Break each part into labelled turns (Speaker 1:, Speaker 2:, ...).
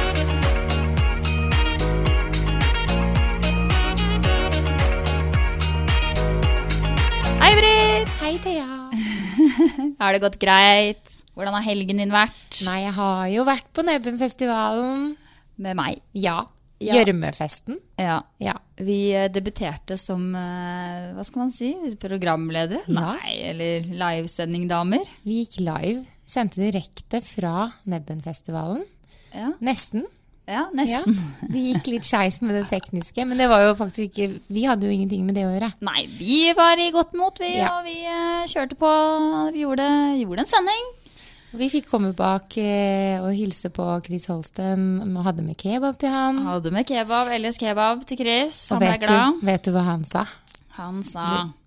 Speaker 1: Hei, Britt! Hei, Thea. har det gått greit? Hvordan har helgen din vært?
Speaker 2: Nei, jeg har jo vært på Nebbenfestivalen.
Speaker 1: Med meg.
Speaker 2: Ja.
Speaker 1: Ja.
Speaker 2: Gjørmefesten.
Speaker 1: Ja.
Speaker 2: Ja.
Speaker 1: Vi eh, debuterte som eh, hva skal man si, programledere?
Speaker 2: Ja.
Speaker 1: Nei, eller livesendingdamer.
Speaker 2: Vi gikk live. Sendte direkte fra Nebbenfestivalen.
Speaker 1: Ja.
Speaker 2: Nesten.
Speaker 1: ja,
Speaker 2: Ja.
Speaker 1: nesten.
Speaker 2: Det gikk litt skeis med det tekniske, men det var jo faktisk ikke Vi hadde jo ingenting med det å gjøre.
Speaker 1: Nei, vi var i godt mot, vi.
Speaker 2: Ja.
Speaker 1: Og vi eh, kjørte på. Vi gjorde, gjorde en sending.
Speaker 2: Vi fikk komme bak eh, og hilse på Chris Holsten og hadde med kebab til han.
Speaker 1: Hadde med kebab, LS kebab til Chris.
Speaker 2: og
Speaker 1: Han ble
Speaker 2: vet
Speaker 1: glad.
Speaker 2: du, vet du hva han sa?
Speaker 1: Han sa,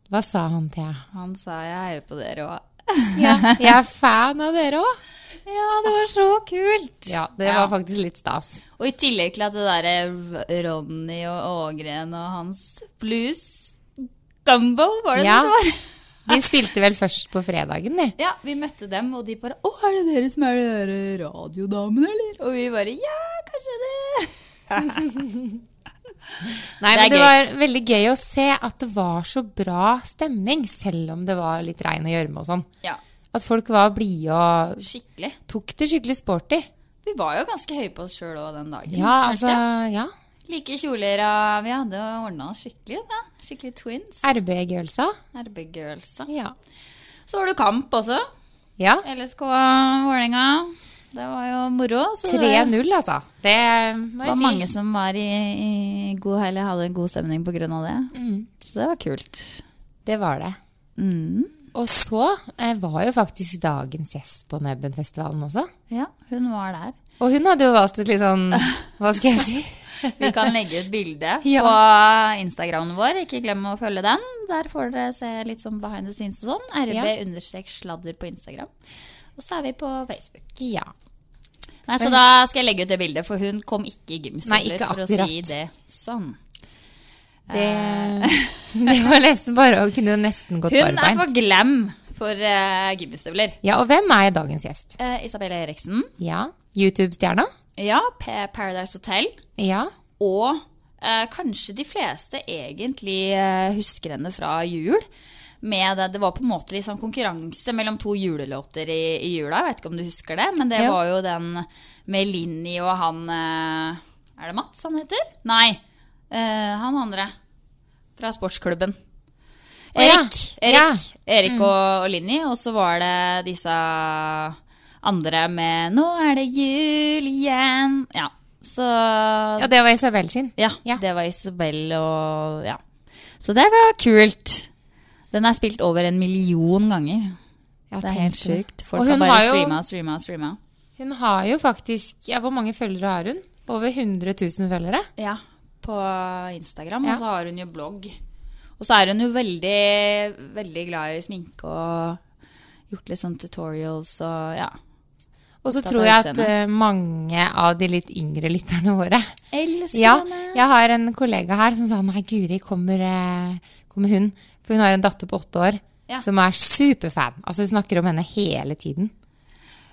Speaker 2: Hva sa han til deg?
Speaker 1: han sa 'jeg heier på dere òg'.
Speaker 2: Jeg er fan av dere òg!
Speaker 1: Ja, det var så kult!
Speaker 2: Ja, det var faktisk litt stas.
Speaker 1: Og i tillegg til at det derre Ronny og Ågren og hans blues Gumbo, var det
Speaker 2: Ja.
Speaker 1: det det var?
Speaker 2: De spilte vel først på fredagen, de.
Speaker 1: Ja, vi møtte dem, og de bare 'Å, er det dere som er de der eh, radiodamene, eller?' Og vi bare 'Ja, kanskje det'.
Speaker 2: Nei,
Speaker 1: Det er
Speaker 2: men det
Speaker 1: gøy.
Speaker 2: var veldig gøy å se at det var så bra stemning, selv om det var litt regn og gjørme og sånn.
Speaker 1: Ja,
Speaker 2: At folk var blide og
Speaker 1: skikkelig.
Speaker 2: tok det skikkelig sporty.
Speaker 1: Vi var jo ganske høye på oss sjøl òg den dagen.
Speaker 2: Ja,
Speaker 1: følte
Speaker 2: altså,
Speaker 1: jeg.
Speaker 2: ja.
Speaker 1: Like kjoler og Vi hadde ordna oss skikkelig. da. Skikkelig twins.
Speaker 2: RB-girlsa.
Speaker 1: RB-girls. da.
Speaker 2: Ja.
Speaker 1: Så var det kamp også.
Speaker 2: ja.
Speaker 1: LSK Vålerenga. Det var jo moro. så det-
Speaker 2: 3-0, altså. Det må
Speaker 1: Det var
Speaker 2: jeg si.
Speaker 1: mange som var i, i god hell, hadde en god stemning på grunn av det. Så det var kult.
Speaker 2: Det var det.
Speaker 1: Mm.
Speaker 2: Og så eh, var jo faktisk dagens gjest på Nebbenfestivalen også.
Speaker 1: Ja, hun var der.
Speaker 2: Og hun hadde jo valgt et litt sånn Hva skal jeg si?
Speaker 1: Vi kan legge ut bilde på Instagramen vår. Ikke glem å følge den. Der får dere se litt sånn behind the scenes og sånn. RB-sladder på Instagram. Og så er vi på Facebook.
Speaker 2: Ja.
Speaker 1: Nei, Så da skal jeg legge ut det bildet, for hun kom ikke i
Speaker 2: Nei,
Speaker 1: gymstøvler,
Speaker 2: ikke
Speaker 1: for å
Speaker 2: akkurat.
Speaker 1: si det sånn.
Speaker 2: Det, det var nesten bare å kunne nesten gått
Speaker 1: Eh. Hun er
Speaker 2: barbeint.
Speaker 1: for glam for uh, gymstøvler.
Speaker 2: Ja, og hvem er dagens gjest?
Speaker 1: Uh, Isabel Eriksen.
Speaker 2: Ja. YouTube-stjerna?
Speaker 1: Ja, P Paradise Hotel.
Speaker 2: Ja.
Speaker 1: Og eh, kanskje de fleste egentlig eh, husker henne fra jul. Med det, det var på en måte litt sånn konkurranse mellom to julelåter i, i jula. Jeg vet ikke om du husker det, men det
Speaker 2: Ja.
Speaker 1: var jo den med Linni og han eh, Er det Mats han heter? Nei. eh, han andre. Fra sportsklubben.
Speaker 2: Å, ja.
Speaker 1: Erik. Erik,
Speaker 2: Ja. Mm.
Speaker 1: Erik og, og Linni. Og så var det disse andre med 'Nå er det jul igjen'. Ja, så
Speaker 2: ja, det var Isabel sin.
Speaker 1: ja,
Speaker 2: Ja.
Speaker 1: det var Isabel og ja. Så det var kult. Den er spilt over en million ganger.
Speaker 2: Ja,
Speaker 1: Det er
Speaker 2: tenk
Speaker 1: helt
Speaker 2: på det.
Speaker 1: sjukt. Folk
Speaker 2: Og
Speaker 1: har
Speaker 2: hun
Speaker 1: bare
Speaker 2: har jo-
Speaker 1: streama og streama og streama.
Speaker 2: Hun har jo faktisk ja, Hvor mange følgere har hun? Over 100 000 følgere?
Speaker 1: Ja, på Instagram.
Speaker 2: Ja.
Speaker 1: Og så har hun jo blogg. Og så er hun jo veldig, veldig glad i sminke og gjort litt sånn tutorials og ja.
Speaker 2: Og så
Speaker 1: Opptatt
Speaker 2: tror
Speaker 1: av
Speaker 2: jeg at
Speaker 1: utseendet.
Speaker 2: eh, mange av de litt yngre lytterne våre
Speaker 1: Elsker
Speaker 2: Ja,
Speaker 1: henne.
Speaker 2: jeg har en kollega her som sa nei, Guri, kommer, eh, kommer hun? For hun har en datter på åtte år
Speaker 1: Ja.
Speaker 2: som er superfan. Altså Hun snakker om henne hele tiden.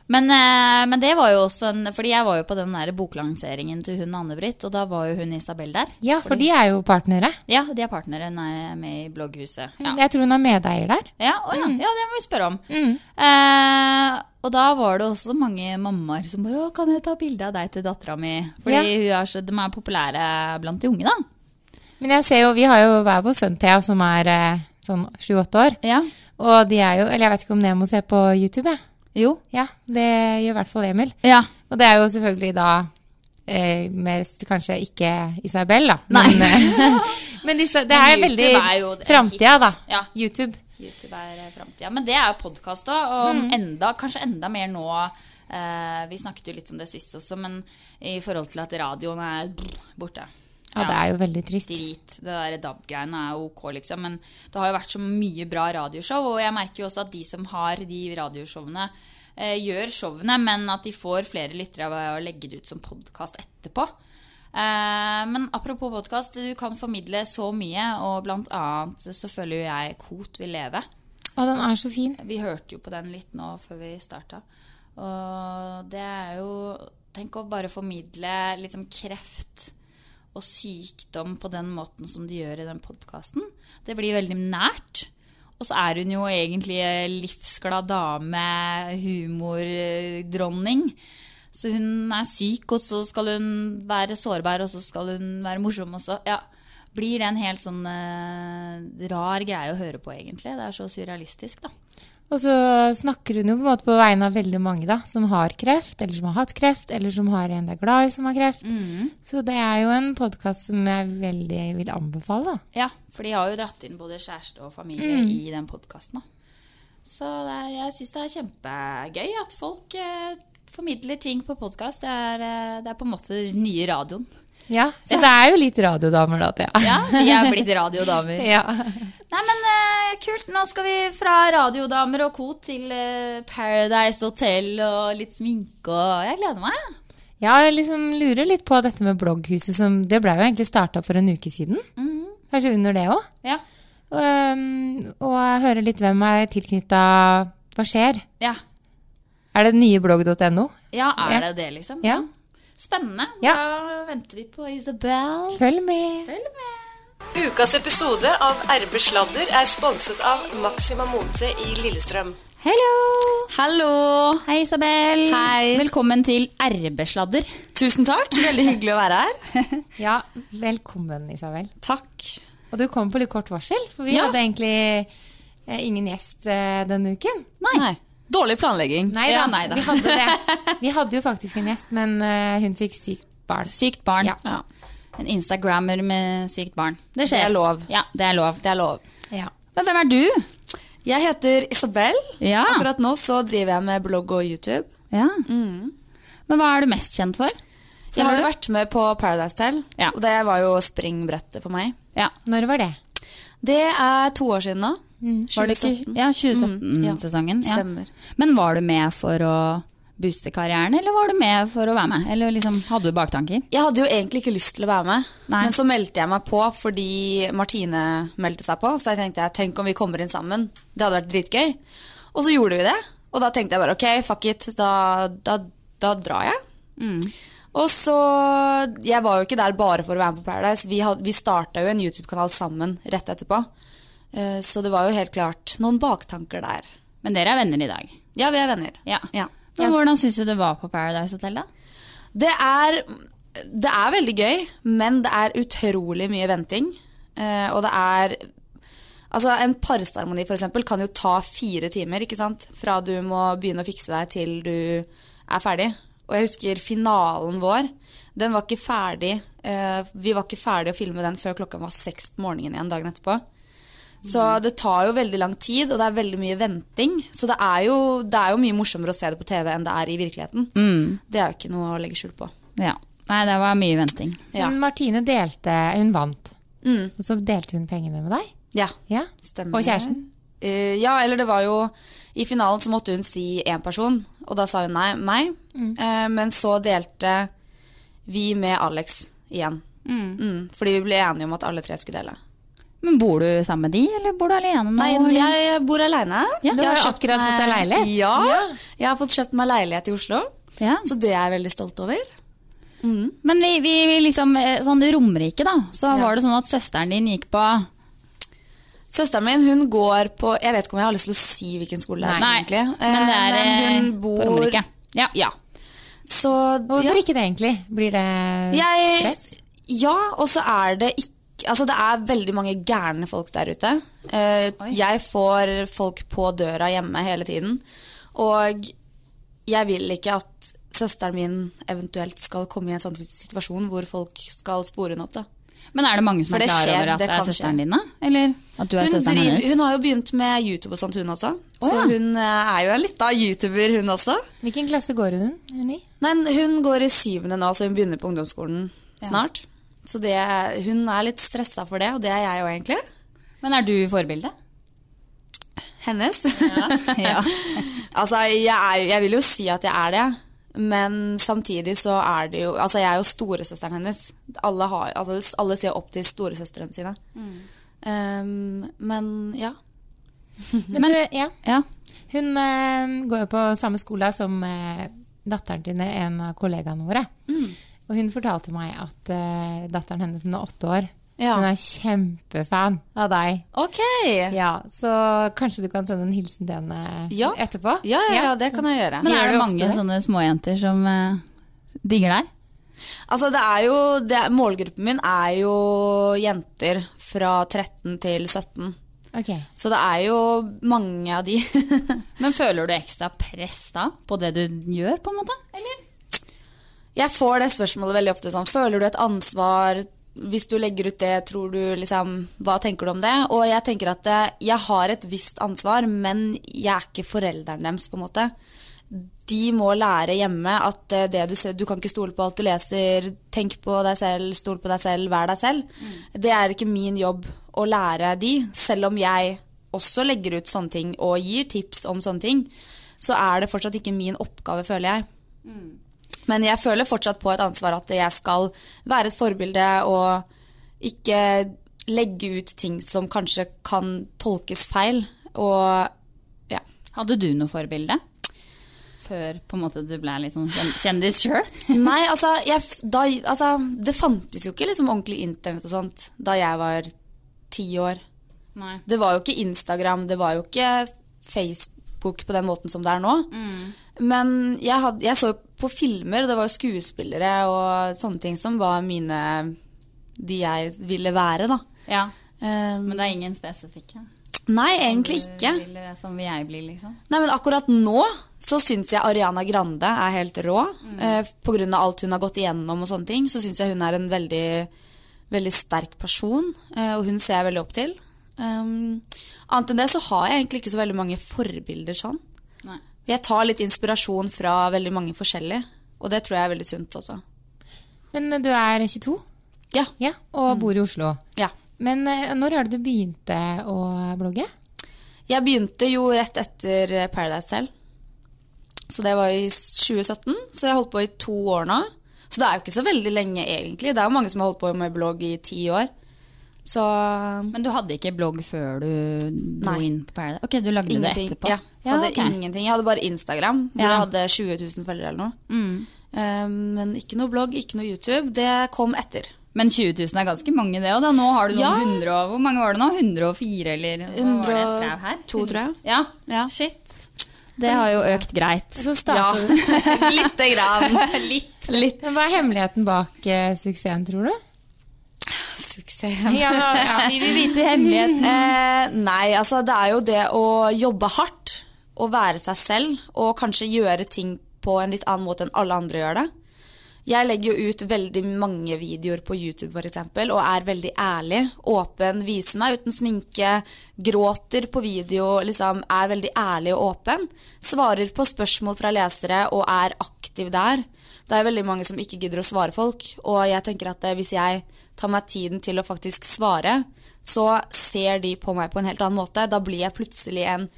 Speaker 1: Men, eh, men det var jo også en Fordi jeg var jo på den der boklanseringen til hun Anne-Britt, og da var jo hun Isabel der.
Speaker 2: Ja, for de er jo partnere.
Speaker 1: Ja, de er partnere. Hun er med i blogghuset. Ja.
Speaker 2: Jeg tror hun er medeier der.
Speaker 1: Ja, å
Speaker 2: Mm.
Speaker 1: ja. ja, det må vi spørre om. Eh, og da var det også mange mammaer som bare 'Å, kan jeg ta bilde av deg til dattera mi?' Fordi
Speaker 2: Ja.
Speaker 1: hun er så, de er populære blant de unge, da.
Speaker 2: Men jeg ser jo, vi har jo hver vår sønn, Thea, som er eh, sånn sju-åtte år.
Speaker 1: Ja.
Speaker 2: Og de er jo Eller jeg vet ikke om Nemo ser på YouTube, jeg.
Speaker 1: Jo.
Speaker 2: Ja, det gjør i hvert fall Emil.
Speaker 1: Ja.
Speaker 2: Og det er jo selvfølgelig da eh, mest kanskje ikke Isabel, da.
Speaker 1: Nei.
Speaker 2: Men, eh, men disse, det er
Speaker 1: Men YouTube
Speaker 2: veldig
Speaker 1: er jo en
Speaker 2: framtida, da.
Speaker 1: hit. Ja.
Speaker 2: YouTube. eh,
Speaker 1: YouTube er framtida. Men det er jo podkast òg, og
Speaker 2: Mm.
Speaker 1: enda, kanskje enda mer nå. eh, vi snakket jo litt om det sist også, men i forhold til at radioen er borte.
Speaker 2: Ja, det er jo veldig trist.
Speaker 1: Drit. Det der DAB-greiene er jo ok, liksom. Men det har jo vært så mye bra radioshow, og jeg merker jo også at de som har de radioshowene, eh, gjør showene, men at de får flere lyttere ved å legge det ut som podkast etterpå. Eh, men apropos podkast, du kan formidle så mye, og blant annet så føler jo jeg Kot vil leve.
Speaker 2: Å, den er så fin.
Speaker 1: Vi hørte jo på den litt nå før vi starta. Og det er jo Tenk å bare formidle liksom kreft og sykdom på den måten som de gjør i den podkasten. Det blir veldig nært. Og så er hun jo egentlig en livsglad dame, humordronning. Så hun er syk, og så skal hun være sårbar, og så skal hun være morsom også. Ja. Blir det en helt sånn eh, rar greie å høre på, egentlig. Det er så surrealistisk, da.
Speaker 2: Og så snakker hun jo på en måte på vegne av veldig mange da, som har kreft, eller som har hatt kreft, eller som har en det er glad i som har kreft.
Speaker 1: Mm.
Speaker 2: Så det er jo en podkast som jeg veldig vil anbefale. da.
Speaker 1: Ja, for de har jo dratt inn både kjæreste og familie
Speaker 2: Mm.
Speaker 1: i den podkasten. Så det er, jeg syns det er kjempegøy at folk eh, formidler ting på podkast. Det, er, eh, det er på en måte den nye radioen.
Speaker 2: Ja, Så det er jo litt radiodamer, da, Thea.
Speaker 1: Ja, vi er blitt radiodamer.
Speaker 2: Ja.
Speaker 1: Nei, men eh, kult. Nå skal vi fra radiodamer og co. til eh, Paradise Hotel og litt sminke og Jeg gleder meg. jeg.
Speaker 2: Ja, jeg liksom lurer litt på dette med blogghuset. Som, det ble jo egentlig starta for en uke siden. Kanskje under det òg.
Speaker 1: Ja.
Speaker 2: og jeg hører litt hvem er tilknytta Hva skjer?
Speaker 1: Ja.
Speaker 2: Er det nyeblogg.no?
Speaker 1: ja, er
Speaker 2: Ja.
Speaker 1: det det, liksom?
Speaker 2: Ja.
Speaker 1: Spennende.
Speaker 2: Ja.
Speaker 1: Da venter vi på Isabel.
Speaker 2: Følg med.
Speaker 1: Følg med.
Speaker 3: Ukas episode av RB Sladder er sponset av Maxima Mote i Lillestrøm.
Speaker 1: Hello!
Speaker 4: Hallo!
Speaker 1: Hei, Isabel.
Speaker 4: Hei.
Speaker 1: Velkommen til RB-sladder.
Speaker 4: Tusen takk. Veldig hyggelig å være her.
Speaker 2: Ja, velkommen, Isabel.
Speaker 4: Takk.
Speaker 2: Og du kom på litt kort varsel, for vi
Speaker 4: Ja.
Speaker 2: hadde egentlig eh, ingen gjest eh, denne uken.
Speaker 4: Nei. Dårlig planlegging.
Speaker 2: Nei da,
Speaker 4: Ja, nei da.
Speaker 2: vi hadde det. Vi hadde jo faktisk en gjest, men eh, hun fikk sykt barn.
Speaker 1: Sykt barn.
Speaker 2: Ja.
Speaker 1: En instagrammer med sykt barn. Det skjer.
Speaker 4: Det er lov.
Speaker 1: Ja, det er lov.
Speaker 4: Det er lov.
Speaker 2: Ja.
Speaker 1: Men hvem er du?
Speaker 4: Jeg heter Isabel.
Speaker 1: Ja.
Speaker 4: Akkurat nå så driver jeg med blogg og YouTube.
Speaker 1: ja. Mm. Men hva er du mest kjent for?
Speaker 4: Jeg har
Speaker 1: Føler
Speaker 4: jo
Speaker 1: du?
Speaker 4: vært med på Paradise Tell,
Speaker 1: Ja.
Speaker 4: og det var jo springbrettet for meg.
Speaker 1: Ja.
Speaker 2: Når var det?
Speaker 4: Det er to år siden nå.
Speaker 1: Var det ikke
Speaker 4: 2017.
Speaker 1: ja,
Speaker 4: Mm, ja.
Speaker 1: 2017-sesongen? Ja.
Speaker 4: Stemmer.
Speaker 1: Men var du med for å booste karrieren, eller var du med for å være med? Eller liksom, hadde du baktanker?
Speaker 4: Jeg hadde jo egentlig ikke lyst til å være med,
Speaker 1: Nei.
Speaker 4: men så meldte jeg meg på fordi Martine meldte seg på. Så jeg tenkte jeg, tenk om vi kommer inn sammen. Det hadde vært dritgøy. Og så gjorde vi det. Og da tenkte jeg bare ok, fuck it, da, da, da drar jeg.
Speaker 1: Mm.
Speaker 4: Og så Jeg var jo ikke der bare for å være med på Paradise. Vi, had- vi starta jo en YouTube-kanal sammen rett etterpå. Eh, Så det var jo helt klart noen baktanker der.
Speaker 1: Men dere er venner i dag.
Speaker 4: Ja, vi er venner.
Speaker 1: Ja.
Speaker 4: Ja.
Speaker 1: Men Hvordan syns du det var på Paradise Hotel, da?
Speaker 4: Det er, det er veldig gøy, men det er utrolig mye venting. Eh, og det er Altså, en parseremoni for eksempel kan jo ta fire timer, ikke sant? Fra du må begynne å fikse deg til du er ferdig. Og jeg husker finalen vår. Den var ikke ferdig. eh, vi var ikke ferdig å filme den før klokka var seks på morgenen igjen dagen etterpå. Så det tar jo veldig lang tid, og det er veldig mye venting. Så det er jo, det er jo mye morsommere å se det på TV enn det er i virkeligheten.
Speaker 2: Mm.
Speaker 4: Det er jo ikke noe å legge skjul på.
Speaker 1: Ja. Nei, det var mye venting.
Speaker 4: Ja.
Speaker 2: Men Martine delte Hun vant. Og så delte hun pengene med deg.
Speaker 4: Ja,
Speaker 2: Ja.
Speaker 4: stemmer.
Speaker 2: Og kjæresten.
Speaker 4: Eh, ja, eller det var jo I finalen så måtte hun si én person, og da sa hun nei, meg.
Speaker 2: Mm.
Speaker 4: Eh, men så delte vi med Alex igjen. Mm, fordi vi ble enige om at alle tre skulle dele.
Speaker 1: Men bor du sammen med de, eller bor du alene nå?
Speaker 4: Nei,
Speaker 1: eller?
Speaker 4: jeg bor aleine.
Speaker 1: Ja, du
Speaker 2: har jo akkurat fått deg leilighet.
Speaker 4: Ja, jeg har fått kjøpt meg leilighet i Oslo,
Speaker 1: ja.
Speaker 4: så det er jeg veldig stolt over.
Speaker 1: Men vi, vi vi liksom, eh, sånn Romerike, da. Så
Speaker 4: Ja.
Speaker 1: var det sånn at søsteren din gikk på
Speaker 4: Søsteren min hun går på Jeg vet ikke om jeg har lyst til å si hvilken skole det er.
Speaker 1: Nei,
Speaker 4: egentlig. Eh,
Speaker 1: men det er eh,
Speaker 4: men hun
Speaker 1: på
Speaker 4: bor
Speaker 1: Romerike. Ja.
Speaker 4: Ja. Så
Speaker 2: Hvorfor
Speaker 4: ja.
Speaker 2: ikke det, egentlig? Blir det
Speaker 4: Jeg-
Speaker 2: stress?
Speaker 4: Ja, og så er det ikke Altså, det er veldig mange gærne folk der ute. Eh, jeg får folk på døra hjemme hele tiden. Og jeg vil ikke at søsteren min eventuelt skal komme i en sånn situasjon hvor folk skal spore henne opp. da.
Speaker 1: Men er det mange som
Speaker 4: For
Speaker 1: er
Speaker 4: det
Speaker 1: klar
Speaker 4: skjer,
Speaker 1: over at
Speaker 4: det
Speaker 1: det,
Speaker 4: kan
Speaker 1: er
Speaker 4: skje.
Speaker 1: søsteren din, da? Eller at du er
Speaker 4: Hun,
Speaker 1: søsteren
Speaker 4: driver-
Speaker 1: hennes?
Speaker 4: hun har jo begynt med YouTube og sånt, hun også.
Speaker 1: Å,
Speaker 4: Så
Speaker 1: ja.
Speaker 4: hun eh, er jo en lita YouTuber, hun også.
Speaker 2: Hvilken klasse går hun i? hun i?
Speaker 4: Nei, hun går i syvende nå, så hun begynner på ungdomsskolen snart. Så det, hun er litt stressa for det, og det er jeg jo egentlig.
Speaker 1: Men er du forbilde?
Speaker 4: Hennes?
Speaker 1: Ja.
Speaker 4: altså, jeg, er, jo- jeg vil jo si at jeg er det. Men samtidig så er det jo Altså, jeg er jo storesøsteren hennes. Alle, har, alle, alle ser opp til storesøstrene sine.
Speaker 1: Mm.
Speaker 4: Um, men ja. Mhm.
Speaker 2: Men, du, ja. Hun eh, går jo på samme skole som eh, datteren din, en av kollegaene våre.
Speaker 4: Mm.
Speaker 2: Og hun fortalte meg at eh, datteren hennes den er åtte år.
Speaker 4: Ja.
Speaker 2: Hun er kjempefan av deg.
Speaker 4: Ok!
Speaker 2: Ja, så kanskje du kan sende en hilsen til henne
Speaker 1: Ja.
Speaker 2: etterpå?
Speaker 4: Ja, ja, ja, det kan jeg gjøre.
Speaker 1: Men
Speaker 2: Gjør
Speaker 1: er
Speaker 2: du
Speaker 1: det
Speaker 2: ofte
Speaker 1: mange
Speaker 2: det?
Speaker 1: sånne småjenter som eh, digger deg?
Speaker 4: Altså, det er jo det, Målgruppen min er jo jenter fra 13 til 17.
Speaker 2: Ok.
Speaker 4: Så det er jo mange av de.
Speaker 1: Men føler du ekstra press da på det du gjør, på en måte? Eller?
Speaker 4: Jeg får det spørsmålet veldig ofte sånn Føler du et ansvar hvis du legger ut det, tror du liksom Hva tenker du om det? Og jeg tenker at eh, jeg har et visst ansvar, men jeg er ikke forelderen deres, på en måte. De må lære hjemme at eh, det du ser Du kan ikke stole på alt du leser. Tenk på deg selv, stol på deg selv, vær deg selv. Det er ikke min jobb å lære de, selv om jeg også legger ut sånne ting og gir tips om sånne ting. Så er det fortsatt ikke min oppgave, føler jeg. Men jeg føler fortsatt på et ansvar at jeg skal være et forbilde og ikke legge ut ting som kanskje kan tolkes feil. Og ja.
Speaker 1: Hadde du noe forbilde? Før på en måte du ble litt sånn kjen- kjendis sjøl?
Speaker 4: Nei, altså, jeg, f- da, altså Det fantes jo ikke liksom ordentlig internett og sånt da jeg var ti år.
Speaker 1: Nei.
Speaker 4: Det var jo ikke Instagram, det var jo ikke Facebook på den måten som det er nå.
Speaker 1: Mm.
Speaker 4: Men jeg, hadde, jeg så jo på filmer, og det var jo skuespillere og sånne ting som var mine De jeg ville være, da.
Speaker 1: Ja,
Speaker 4: Um,
Speaker 1: men det er ingen spesifikke?
Speaker 4: nei, egentlig ikke.
Speaker 1: Som, du vil- eh, som jeg blir, liksom?
Speaker 4: Nei, men akkurat nå så syns jeg Ariana Grande er helt rå. Eh, på grunn av alt hun har gått igjennom og sånne ting, så syns jeg hun er en veldig, veldig sterk person. Eh, og hun ser jeg veldig opp til. Um, annet enn det så har jeg egentlig ikke så veldig mange forbilder sånn.
Speaker 1: Nei.
Speaker 4: Jeg tar litt inspirasjon fra veldig mange forskjellige, og det tror jeg er veldig sunt også.
Speaker 2: Men eh, du er 22
Speaker 4: Ja.
Speaker 2: ja,
Speaker 1: Mm.
Speaker 2: og bor i Oslo.
Speaker 4: ja.
Speaker 2: Men eh, når er det du begynte å blogge?
Speaker 4: Jeg begynte jo rett etter eh, Paradise Tell. Så det var i 2017, så jeg har holdt på i to år nå. Så det er jo ikke så veldig lenge, egentlig. Det er jo mange som har holdt på med blogg i ti år. Så
Speaker 1: Men du hadde ikke blogg før du dro
Speaker 4: Nei.
Speaker 1: inn på Paradise? Ok, du lagde
Speaker 4: ingenting.
Speaker 1: det etterpå?
Speaker 4: Ja, hadde
Speaker 1: ok.
Speaker 4: ingenting. Jeg hadde bare Instagram, hvor
Speaker 1: Ja.
Speaker 4: jeg hadde 20 000 følgere eller noe.
Speaker 1: Mm.
Speaker 4: Eh, Men ikke noe blogg, ikke noe YouTube. Det kom etter.
Speaker 1: Men 20 000 er ganske mange, det òg. Nå har du sånn
Speaker 4: Ja.
Speaker 1: 100 og Hvor mange var det nå? 104, eller? hva var det jeg skrev her?
Speaker 4: 102, tror jeg.
Speaker 1: Ja.
Speaker 4: Ja.
Speaker 1: Shit. Det har jo økt greit.
Speaker 2: Så Altså, startet du.
Speaker 4: Lite grann. Litt. Litt
Speaker 2: Men hva er hemmeligheten bak eh, suksessen, tror du?
Speaker 4: suksess.
Speaker 2: Ja,
Speaker 1: Vi vil vite hemmeligheten.
Speaker 4: Eh, nei, altså det er jo det å jobbe hardt og være seg selv og kanskje gjøre ting på en litt annen måte enn alle andre gjør det. Jeg legger jo ut veldig mange videoer på YouTube for eksempel, og er veldig ærlig, åpen, viser meg uten sminke, gråter på video, liksom er veldig ærlig og åpen. Svarer på spørsmål fra lesere og er aktiv der. Det er veldig mange som ikke gidder å svare folk, og jeg tenker at eh, hvis jeg tar meg tiden til å faktisk svare, så ser de på meg på en helt annen måte. Da blir jeg plutselig en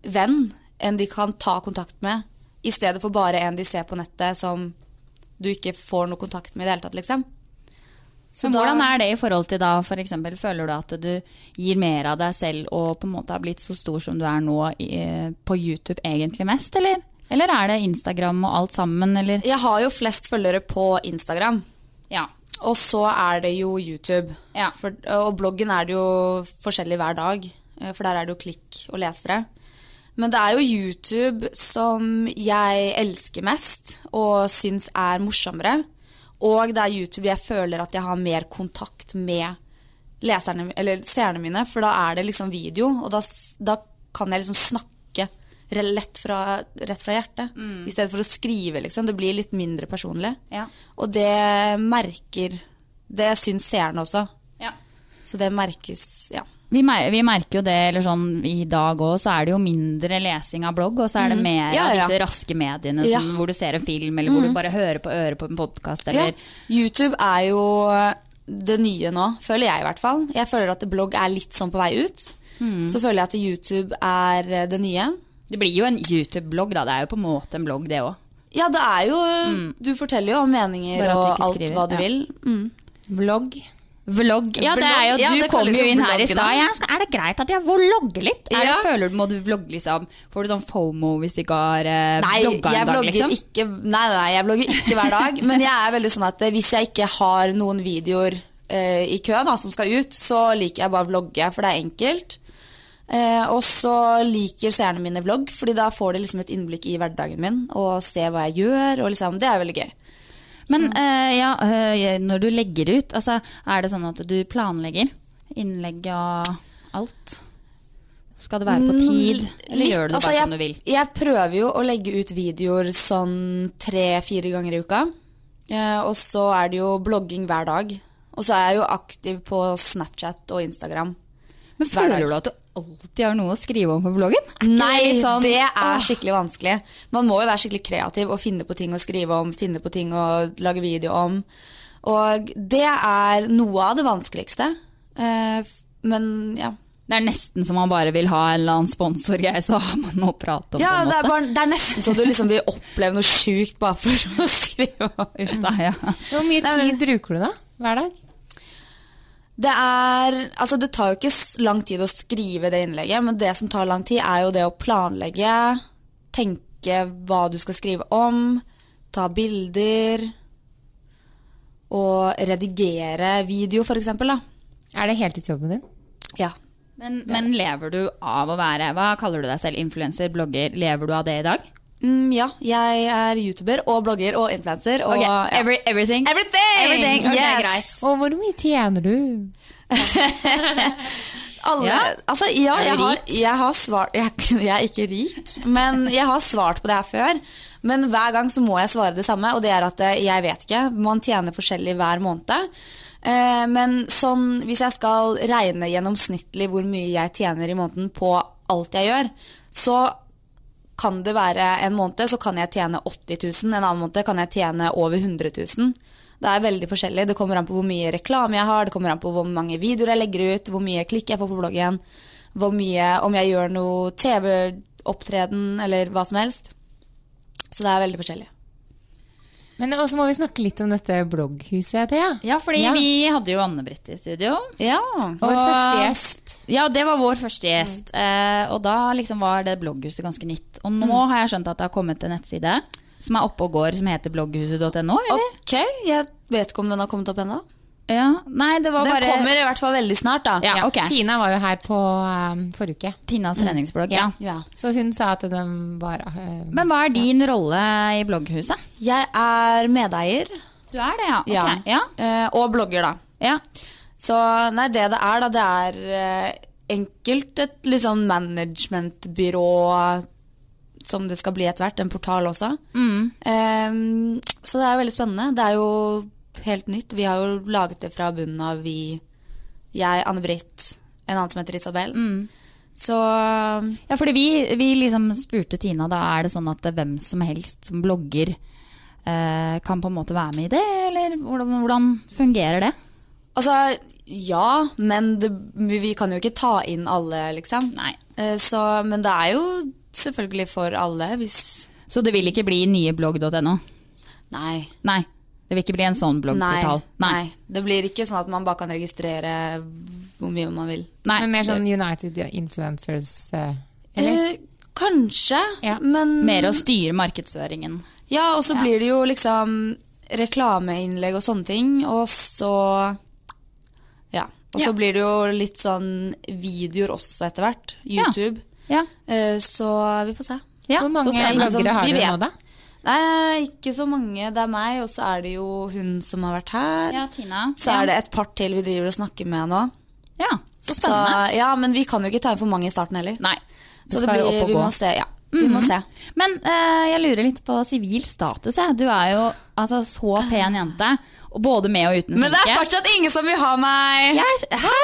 Speaker 4: venn, en de kan ta kontakt med, i stedet for bare en de ser på nettet som du ikke får noe kontakt med i det hele tatt, liksom.
Speaker 1: Men hvordan er det i forhold til da, for eksempel, føler du at du gir mer av deg selv og på en måte har blitt så stor som du er nå i- på YouTube egentlig mest, eller? Eller er det Instagram og alt sammen, eller?
Speaker 4: Jeg har jo flest følgere på Instagram,
Speaker 1: Ja.
Speaker 4: og så er det jo YouTube.
Speaker 1: Ja.
Speaker 4: For, og bloggen er det jo forskjellig hver dag, eh, for der er det jo klikk og lesere. Men det er jo YouTube som jeg elsker mest, og syns er morsommere. Og det er YouTube jeg føler at jeg har mer kontakt med leserne, eller seerne mine, for da er det liksom video, og da, s- da kan jeg liksom snakke re- lett fra, rett fra hjertet,
Speaker 1: Mm.
Speaker 4: i stedet for å skrive, liksom. Det blir litt mindre personlig.
Speaker 1: Ja.
Speaker 4: Og det merker Det syns seerne også.
Speaker 1: Ja.
Speaker 4: Så det merkes, ja.
Speaker 1: Vi, mer, vi merker jo det, eller sånn i dag òg, så er det jo mindre lesing av blogg, og så er det
Speaker 4: Mm.
Speaker 1: mer
Speaker 4: Ja,
Speaker 1: av
Speaker 4: ja.
Speaker 1: disse raske mediene
Speaker 4: Ja.
Speaker 1: som, hvor du ser en film, eller hvor
Speaker 4: Mm.
Speaker 1: du bare hører på øret på en podkast, eller
Speaker 4: Ja, YouTube er jo det nye nå, føler jeg i hvert fall. Jeg føler at blogg er litt sånn på vei ut.
Speaker 1: Mm.
Speaker 4: Så føler jeg at YouTube er det nye.
Speaker 1: Det blir jo en YouTube-blogg, da. Det er jo på en måte en blogg, det òg.
Speaker 4: Ja, det er jo Du forteller jo om meninger
Speaker 1: Mm. Bare at du
Speaker 4: og
Speaker 1: ikke
Speaker 4: alt
Speaker 1: skriver,
Speaker 4: hva du
Speaker 1: ja.
Speaker 4: vil. Mm.
Speaker 2: Vlogg.
Speaker 1: Vlogg. Ja, det er jo,
Speaker 4: Vlogg, ja,
Speaker 1: du
Speaker 4: det
Speaker 1: kom
Speaker 4: kalles
Speaker 1: jo
Speaker 4: jo
Speaker 1: inn her i
Speaker 4: vloggen,
Speaker 1: stad.
Speaker 4: da.
Speaker 1: jeg er sånn, Er det greit at jeg vlogger litt? Er det,
Speaker 4: Ja.
Speaker 1: føler du, Må du vlogge, liksom? Får du sånn fomo hvis du ikke har eh,
Speaker 4: Nei,
Speaker 1: vlogga
Speaker 4: jeg
Speaker 1: en dag,
Speaker 4: vlogger
Speaker 1: liksom?
Speaker 4: ikke Nei, nei, nei, jeg vlogger ikke hver dag. Men jeg er veldig sånn at eh, hvis jeg ikke har noen videoer eh, i kø da, som skal ut, så liker jeg bare å vlogge, for det er enkelt. Eh, og så liker seerne mine vlogg, Fordi da får de liksom et innblikk i hverdagen min. Og se hva jeg gjør. Og liksom, det er veldig gøy.
Speaker 1: Men eh, ja, eh, når du legger ut, altså, er det sånn at du planlegger innlegg og alt? Skal det være på tid, eller
Speaker 4: Mm, Litt,
Speaker 1: gjør du det
Speaker 4: altså,
Speaker 1: bare
Speaker 4: jeg,
Speaker 1: som du vil?
Speaker 4: Jeg prøver jo å legge ut videoer sånn tre-fire ganger i uka. Eh, og så er det jo blogging hver dag. Og så er jeg jo aktiv på Snapchat og Instagram.
Speaker 1: Men
Speaker 4: hver dag.
Speaker 1: føler du at du alltid har noe å skrive om på bloggen? Er ikke
Speaker 4: Nei,
Speaker 1: litt sånn,
Speaker 4: det
Speaker 1: åh,
Speaker 4: er skikkelig vanskelig. Man må jo være skikkelig kreativ og finne på ting å skrive om, finne på ting å lage video om. Og det er noe av det vanskeligste. Eh, f- Men ja.
Speaker 1: Det er nesten som man bare vil ha en eller annen sponsorgreie, så har man noe å prate om.
Speaker 4: ja
Speaker 1: på en
Speaker 4: det,
Speaker 1: måte.
Speaker 4: er bare, det er nesten så du liksom vil oppleve noe sjukt bare for å skrive om.
Speaker 1: Uff da, ja.
Speaker 2: Hvor mye tid bruker du da? Hver dag?
Speaker 4: Det er, altså det tar jo ikke s- lang tid å skrive det innlegget, men det som tar lang tid er jo det å planlegge, tenke hva du skal skrive om, ta bilder, og redigere video for eksempel da.
Speaker 2: Er det heltidsjobben din?
Speaker 4: Ja.
Speaker 1: Men, men lever du av å være Hva kaller du deg selv? Influenser? Blogger? Lever du av det i dag?
Speaker 4: Mm, ja, jeg er YouTuber og blogger og influencer. Og,
Speaker 1: Ok,
Speaker 4: ja.
Speaker 1: every, everything?
Speaker 4: Everything!
Speaker 1: Everything, ok,
Speaker 4: Yes!
Speaker 1: greit.
Speaker 2: Og hvor mye tjener du?
Speaker 4: Alle,
Speaker 1: Ja.
Speaker 4: altså, ja,
Speaker 1: Er du
Speaker 4: jeg har,
Speaker 1: rik?
Speaker 4: jeg har svart jeg, jeg er ikke rik, men jeg har svart på det her før. Men hver gang så må jeg svare det samme, og det er at eh, jeg vet ikke. Man tjener forskjellig hver måned. Eh, Men sånn, hvis jeg skal regne gjennomsnittlig hvor mye jeg tjener i måneden på alt jeg gjør, så kan det være en måned så kan jeg tjene 80 000, en annen måned kan jeg tjene over 100 000. Det er veldig forskjellig. Det kommer an på hvor mye reklame jeg har, det kommer an på hvor mange videoer jeg legger ut, hvor mye klikk jeg får på bloggen, hvor mye, om jeg gjør noe TV-opptreden eller hva som helst. Så det er veldig forskjellig.
Speaker 2: Men også må vi snakke litt om dette blogghuset, Thea.
Speaker 1: Ja, fordi
Speaker 2: Ja.
Speaker 1: vi hadde jo Anne-Britt i studio.
Speaker 4: Ja.
Speaker 2: Vår
Speaker 1: Og-
Speaker 2: første gjest.
Speaker 1: Ja, det var vår første gjest. Eh, og da liksom var det blogghuset ganske nytt. Og nå har jeg skjønt at det har kommet en nettside som er oppe og går, som heter blogghuset.no, eller?
Speaker 4: Ok, jeg vet ikke om den har kommet opp ennå.
Speaker 1: Ja. Nei, det var
Speaker 4: Den
Speaker 1: bare
Speaker 4: kommer i hvert fall veldig snart, da.
Speaker 1: Ja, ok.
Speaker 2: Tina var jo her på eh, forrige uke.
Speaker 1: Tinas treningsblogg, Mm. ja.
Speaker 4: Ja.
Speaker 2: Så hun sa at den var eh,
Speaker 1: Men hva er din rolle i blogghuset?
Speaker 4: Jeg er medeier
Speaker 1: Du er det, ja. Ok,
Speaker 4: Ja.
Speaker 1: ja.
Speaker 4: eh, og blogger, da.
Speaker 1: ja.
Speaker 4: Så nei, det det er da, det er eh, enkelt et litt sånn managementbyrå som det skal bli etter hvert, en portal også.
Speaker 1: Mm.
Speaker 4: Ehm, så det er veldig spennende. Det er jo helt nytt. Vi har jo laget det fra bunnen av, vi, jeg, Anne-Britt, en annen som heter Isabel.
Speaker 1: Mm.
Speaker 4: Så
Speaker 1: Ja, fordi vi, vi liksom spurte Tina, da er det sånn at hvem som helst som blogger eh, kan på en måte være med i det, eller hvordan, hvordan fungerer det?
Speaker 4: altså, ja, men det, vi kan jo ikke ta inn alle, liksom.
Speaker 1: Nei.
Speaker 4: Eh, Så, men det er jo selvfølgelig for alle, hvis
Speaker 1: Så det vil ikke bli nyeblogg.no?
Speaker 4: Nei.
Speaker 1: Nei. Det vil ikke bli en sånn bloggportal?
Speaker 4: Nei, nei. Det blir ikke sånn at man bare kan registrere hvor mye man vil.
Speaker 1: Nei.
Speaker 2: men mer sånn United Influencers eh, eller?
Speaker 4: Eh, kanskje,
Speaker 2: Ja.
Speaker 4: men
Speaker 1: Mer å styre markedsføringen.
Speaker 4: Ja, og så
Speaker 1: Ja.
Speaker 4: blir det jo liksom reklameinnlegg og sånne ting, og så Ja. Og så
Speaker 1: Ja.
Speaker 4: blir det jo litt sånn videoer også etter hvert.
Speaker 1: Ja.
Speaker 4: YouTube.
Speaker 1: Ja.
Speaker 4: Eh, så vi får se.
Speaker 1: ja.
Speaker 2: Hvor
Speaker 1: så
Speaker 2: mange
Speaker 1: spennende.
Speaker 4: liksom,
Speaker 2: bloggere har
Speaker 4: vi
Speaker 2: du nå,
Speaker 4: vet.
Speaker 2: da?
Speaker 4: Nei, ikke så mange. Det er meg, og så er det jo hun som har vært her.
Speaker 1: Ja, Tina.
Speaker 4: Så er det et par til vi driver og snakker med nå.
Speaker 1: Ja, så spennende.
Speaker 4: Så, ja, men vi kan jo ikke ta inn for mange i starten heller.
Speaker 1: Nei.
Speaker 4: Så det
Speaker 1: Det skal jo
Speaker 4: blir,
Speaker 1: opp og
Speaker 4: vi
Speaker 1: gå.
Speaker 4: må se. Ja, vi må se.
Speaker 1: Men eh, jeg lurer litt på sivil status. Jeg. Du er jo altså, så pen jente. og Både med og uten
Speaker 4: Men det er
Speaker 1: sminke.
Speaker 4: fortsatt ingen som vil ha meg!
Speaker 1: Jeg er- Hæ?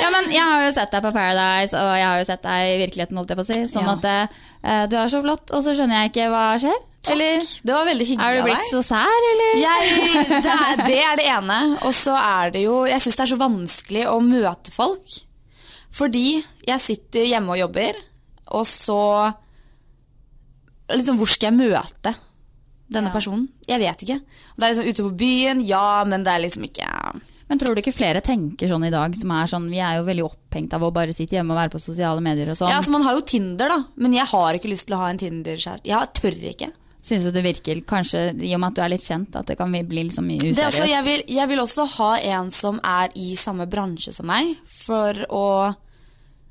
Speaker 1: ja, men jeg har jo sett deg på Paradise, og jeg har jo sett deg i virkeligheten. holdt jeg på å si Sånn
Speaker 4: Ja.
Speaker 1: at eh, du er så flott, og så skjønner jeg ikke hva skjer. Eller
Speaker 4: Det var veldig hyggelig
Speaker 1: er du
Speaker 4: av
Speaker 1: blitt
Speaker 4: deg.
Speaker 1: så sær, eller?
Speaker 4: Jeg, det, er, det er det ene. Og så er det jo Jeg syns det er så vanskelig å møte folk. Fordi jeg sitter hjemme og jobber, og så liksom, Hvor skal jeg møte denne personen? Jeg vet ikke. Og det er liksom ute på byen, ja, men det er liksom ikke
Speaker 1: Men tror du ikke flere tenker sånn i dag? Som er sånn, Vi er jo veldig opphengt av å bare sitte hjemme og være på sosiale medier og sånn.
Speaker 4: Ja, altså Man har jo Tinder, da, men jeg har ikke lyst til å ha en Tinder-kjæreste. Jeg tør ikke.
Speaker 1: Syns du det virker, kanskje i og med at du er litt kjent, at det kan bli liksom mye useriøst?
Speaker 4: Det, er altså, jeg, vil, jeg vil også ha en som er i samme bransje som meg. For å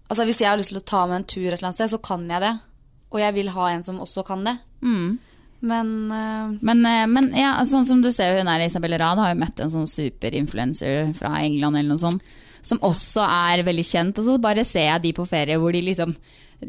Speaker 4: Altså Hvis jeg har lyst til å ta meg en tur et eller annet sted, så kan jeg det. Og jeg vil ha en som også kan det.
Speaker 1: Mm.
Speaker 4: Men øh,
Speaker 1: Men, eh, men ja, sånn som du ser hun her, Isabel Rad har jo møtt en sånn superinfluencer fra England eller noe sånt, som også er veldig kjent, og så bare ser jeg de på ferie hvor de liksom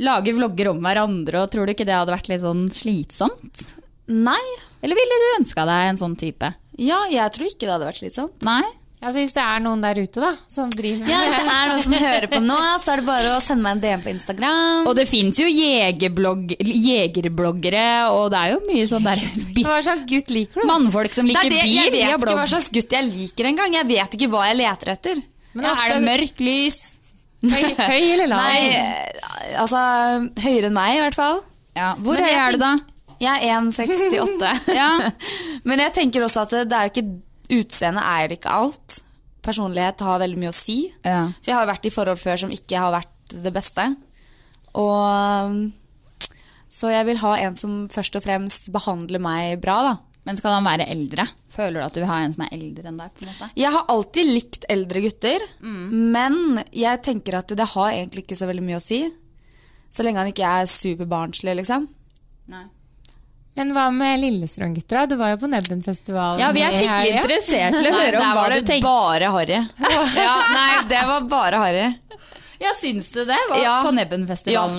Speaker 1: lager vlogger om hverandre, og tror du ikke det hadde vært litt sånn slitsomt?
Speaker 4: nei.
Speaker 1: Eller ville du ønska deg en sånn type?
Speaker 4: Ja, jeg tror ikke det hadde vært slitsomt.
Speaker 1: Nei?
Speaker 2: Altså, hvis det er noen der ute da, som driver
Speaker 4: Ja, hvis det er noen som hører på nå, så er det bare å sende meg en DM på Instagram.
Speaker 1: Og det fins jo jegerblogg- jegerbloggere, og det er jo mye sånn der bi-
Speaker 2: Hva slags gutt liker du?
Speaker 1: Mannfolk som
Speaker 4: Det
Speaker 1: liker
Speaker 4: er det,
Speaker 1: bil,
Speaker 4: jeg
Speaker 1: de
Speaker 4: vet
Speaker 1: har
Speaker 4: ikke
Speaker 1: blogg.
Speaker 4: hva slags gutt jeg liker engang. Jeg vet ikke hva jeg leter etter.
Speaker 1: Ja, er det mørk, lys?
Speaker 2: Høy, høy eller lav?
Speaker 4: Nei, øh, altså Høyere enn meg, i hvert fall.
Speaker 1: Ja, hvor
Speaker 4: Men
Speaker 1: høy
Speaker 4: jeg
Speaker 1: er du da?
Speaker 4: Jeg er 1,68.
Speaker 1: Ja.
Speaker 4: Men jeg tenker også at det er jo ikke utseendet er ikke alt. Personlighet har veldig mye å si.
Speaker 1: Ja.
Speaker 4: For jeg har jo vært i forhold før som ikke har vært det beste. Og så jeg vil ha en som først og fremst behandler meg bra, da.
Speaker 1: Men skal han være eldre? Føler du at du vil ha en som er eldre enn deg? på en måte?
Speaker 4: Jeg har alltid likt eldre gutter,
Speaker 1: Mm.
Speaker 4: men jeg tenker at det har egentlig ikke så veldig mye å si. Så lenge han ikke er superbarnslig, liksom.
Speaker 2: Men hva med Lillestrøm-gutter? da? Du var jo på Nebbenfestivalen.
Speaker 1: Ja, vi er
Speaker 2: i
Speaker 1: skikkelig
Speaker 2: helga.
Speaker 1: interessert til å
Speaker 4: Nei,
Speaker 1: høre om
Speaker 4: der
Speaker 1: hva
Speaker 4: var
Speaker 1: du
Speaker 4: det
Speaker 1: tenker.
Speaker 4: bare harry. Ja, nei, det var bare harry.
Speaker 1: Ja, syns du det? Var
Speaker 4: Ja.
Speaker 1: På Nebbenfestivalen,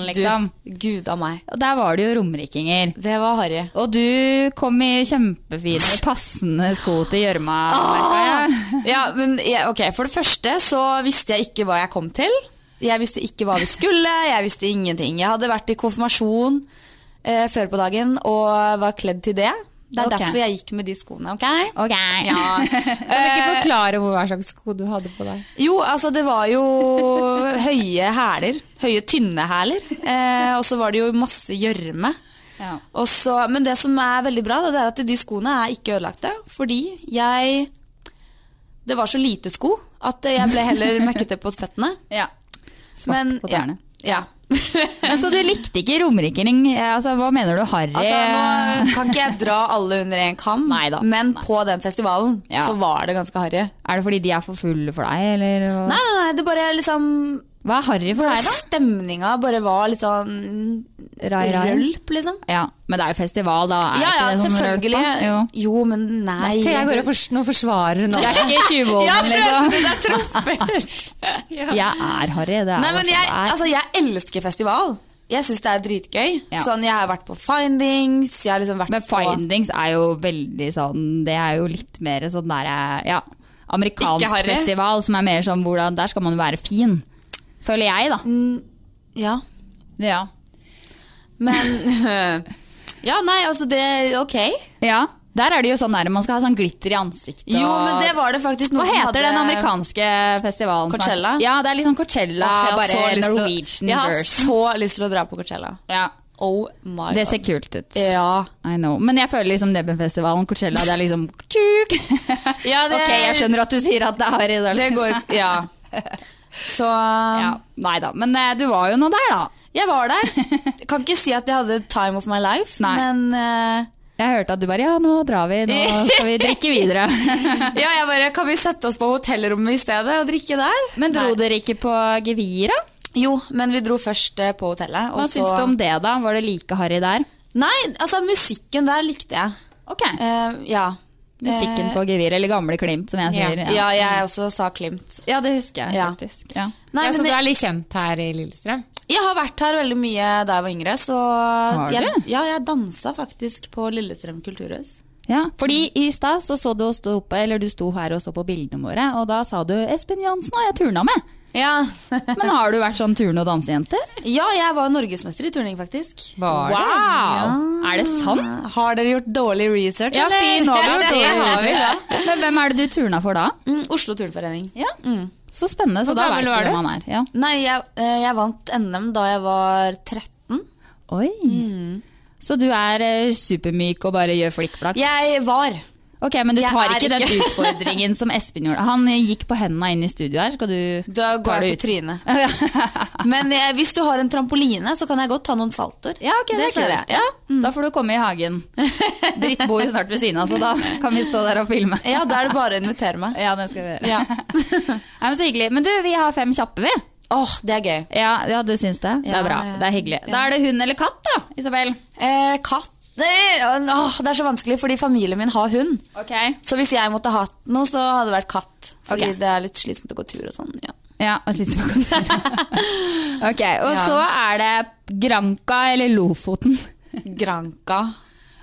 Speaker 4: Ja, du,
Speaker 1: liksom.
Speaker 4: Gud av meg.
Speaker 1: Og der var det jo romrikinger.
Speaker 4: Det var harry.
Speaker 1: Og du kom i kjempefine, passende sko til gjørma.
Speaker 4: Ah!
Speaker 1: merker jeg.
Speaker 4: Ja, men jeg, ok, For det første så visste jeg ikke hva jeg kom til. Jeg visste ikke hva vi skulle, jeg visste ingenting. Jeg hadde vært i konfirmasjon eh, før på dagen og var kledd til det. Det er
Speaker 1: Ok.
Speaker 4: derfor jeg gikk med de skoene. ok?
Speaker 1: Ok.
Speaker 2: Kan du ikke forklare hva slags sko du hadde på deg?
Speaker 4: Jo, altså det var jo høye hæler. Høye, tynne hæler. Eh, og så var det jo masse gjørme.
Speaker 1: Ja.
Speaker 4: Og så- Men det som er veldig bra, da, det er at de skoene er ikke ødelagte. Fordi jeg Det var så lite sko at jeg ble heller møkkete på føttene.
Speaker 1: Ja.
Speaker 4: Men,
Speaker 1: på tærne.
Speaker 4: Ja, ja.
Speaker 1: Men Så du likte ikke romriking? Eh, Altså, hva mener du, harry?
Speaker 4: Altså, nå kan ikke jeg dra alle under én kam,
Speaker 1: Neida.
Speaker 4: men på den festivalen
Speaker 1: Ja.
Speaker 4: så var det ganske harry.
Speaker 1: Er det fordi de er for fulle for deg, eller? hva-
Speaker 4: Nei, nei, nei, det bare liksom altså,
Speaker 1: Hva er harry for deg, da?
Speaker 4: Stemninga bare var litt sånn
Speaker 1: Rai, rai.
Speaker 4: rølp, liksom.
Speaker 1: Ja, Men det er jo festival, da. Er
Speaker 4: Ja, ja,
Speaker 1: ikke det sånn rørt
Speaker 4: selvfølgelig.
Speaker 1: på? Jo.
Speaker 4: Jo, men nei.
Speaker 2: Til jeg går og fors nå forsvarer hun
Speaker 1: Det
Speaker 2: alt.
Speaker 1: er ikke 20-åringen, liksom.
Speaker 4: det er truffet!
Speaker 1: Jeg er harry. Det er
Speaker 4: Nei, men
Speaker 1: hva
Speaker 4: jeg,
Speaker 1: som er.
Speaker 4: altså, jeg elsker festival. Jeg syns det er dritgøy.
Speaker 1: Ja.
Speaker 4: Sånn, jeg har vært på Findings. Jeg har liksom vært
Speaker 1: Men findings er jo veldig sånn Det er jo litt mer sånn derre Ja. Amerikansk
Speaker 4: Ikke harry.
Speaker 1: festival som er mer sånn hvordan Der skal man jo være fin. Føler jeg, da.
Speaker 4: på Mm. Ja,
Speaker 1: Ja.
Speaker 4: men Ja, nei, altså, det Ok.
Speaker 1: ja. Der er det jo sånn der man skal ha sånn glitter i ansiktet.
Speaker 4: Jo,
Speaker 1: og-
Speaker 4: men det var det faktisk noen
Speaker 1: Hva
Speaker 4: som
Speaker 1: heter
Speaker 4: hadde
Speaker 1: den amerikanske festivalen? som er-
Speaker 4: Coachella?
Speaker 1: Ja, det er liksom Coachella,
Speaker 4: Åh, jeg har så
Speaker 1: bare
Speaker 4: lyst til å-
Speaker 1: Norwegian
Speaker 4: Jeg har
Speaker 1: version.
Speaker 4: så lyst til å dra på Coachella.
Speaker 1: Ja.
Speaker 4: Oh my
Speaker 1: Det ser
Speaker 4: god.
Speaker 1: kult ut.
Speaker 4: Ja.
Speaker 1: I know. Men jeg føler liksom Nebbenfestivalen, Coachella, det er liksom tjuk.
Speaker 4: Ja, det-
Speaker 1: Ok, jeg skjønner at du sier at det er harry. da,
Speaker 4: Det
Speaker 1: liksom.
Speaker 4: går Ja. Så
Speaker 1: Ja, nei da. Men eh, du var jo nå der, da.
Speaker 4: Jeg var der. Jeg kan ikke si at jeg hadde time of my life,
Speaker 1: Nei.
Speaker 4: men eh,
Speaker 1: Jeg hørte at du bare ja, nå drar vi, nå skal vi drikke videre.
Speaker 4: Ja, jeg bare Kan vi sette oss på hotellrommet i stedet og drikke der?
Speaker 1: Men dro
Speaker 4: Nei.
Speaker 1: dere ikke på Gevira?
Speaker 4: Jo, men vi dro først eh, på hotellet.
Speaker 1: Hva
Speaker 4: og så-
Speaker 1: syns du om det, da? Var det like harry der?
Speaker 4: Nei, altså musikken der likte jeg.
Speaker 1: Ok.
Speaker 4: Eh, ja.
Speaker 1: Musikken på gevir, eller gamle Klimt, som jeg sier.
Speaker 4: Ja, jeg også sa Klimt.
Speaker 1: Ja, det husker jeg faktisk. Ja.
Speaker 4: Nei,
Speaker 2: ja,
Speaker 4: men
Speaker 2: så
Speaker 4: det-
Speaker 2: du er litt kjent her i Lillestrøm?
Speaker 4: Jeg har vært her veldig mye da jeg var yngre. Så
Speaker 1: Har du?
Speaker 4: Jeg, ja, jeg dansa faktisk på Lillestrøm kulturhus.
Speaker 1: Ja, fordi i stad så, så du, oss stå oppe, eller du sto her og så på bildene våre, og da sa du 'Espen Jansen har jeg turna med'.
Speaker 4: Ja.
Speaker 1: Men har du vært sånn turne- og dansejente?
Speaker 4: ja, jeg var norgesmester i turning, faktisk.
Speaker 1: Var det? Er det sant?
Speaker 4: Har dere gjort dårlig research?
Speaker 1: Ja,
Speaker 4: eller?
Speaker 1: fin over,
Speaker 4: Ja,
Speaker 1: det
Speaker 4: det
Speaker 1: har vi da. Men hvem er det du turna for da?
Speaker 4: Mm, Oslo Turforening.
Speaker 1: Ja. Så spennende, så
Speaker 2: Hvor
Speaker 1: da vet
Speaker 2: gammel
Speaker 1: du hvem
Speaker 2: var du?
Speaker 1: han er. Ja.
Speaker 4: Nei, jeg, eh, jeg vant NM da jeg var 13.
Speaker 1: Oi. Mm. Så du er eh, supermyk og bare gjør flikkflakk?
Speaker 4: Jeg var.
Speaker 1: Ok, men du
Speaker 4: Jeg
Speaker 1: tar
Speaker 4: er
Speaker 1: ikke, den
Speaker 4: ikke.
Speaker 1: utfordringen som Espen gjorde. Han gikk på hendene inn i studio her. Skal du
Speaker 4: Da
Speaker 1: Tar
Speaker 4: går jeg
Speaker 1: du
Speaker 4: på trynet. Men jeg, hvis du har en trampoline, så kan jeg godt ta noen salter.
Speaker 1: Ja, ok, det, klarer jeg. Ja. Da får du komme i hagen. Drittbord snart ved siden av, så da kan vi stå der og filme.
Speaker 4: Ja, da er det bare å invitere meg.
Speaker 1: Ja, det skal vi gjøre.
Speaker 4: Ja.
Speaker 1: Nei, men så hyggelig. Men du, vi har fem kjappe, vi.
Speaker 4: Åh, det er gøy.
Speaker 1: Ja, ja du syns det? det
Speaker 4: Ja,
Speaker 1: er bra.
Speaker 4: ja.
Speaker 1: Det er hyggelig. Da er det hund eller katt, da, Isabel.
Speaker 4: Eh, katt Nei, åh, Det er så vanskelig, fordi familien min har hund.
Speaker 1: Ok.
Speaker 4: Så hvis jeg måtte hatt noe, så hadde det vært katt. Fordi
Speaker 1: Ok.
Speaker 4: det er litt slitsomt å gå tur og sånn. Ja.
Speaker 1: Ja, og litt som Ok, og så er det Granka eller Lofoten.
Speaker 4: Granka.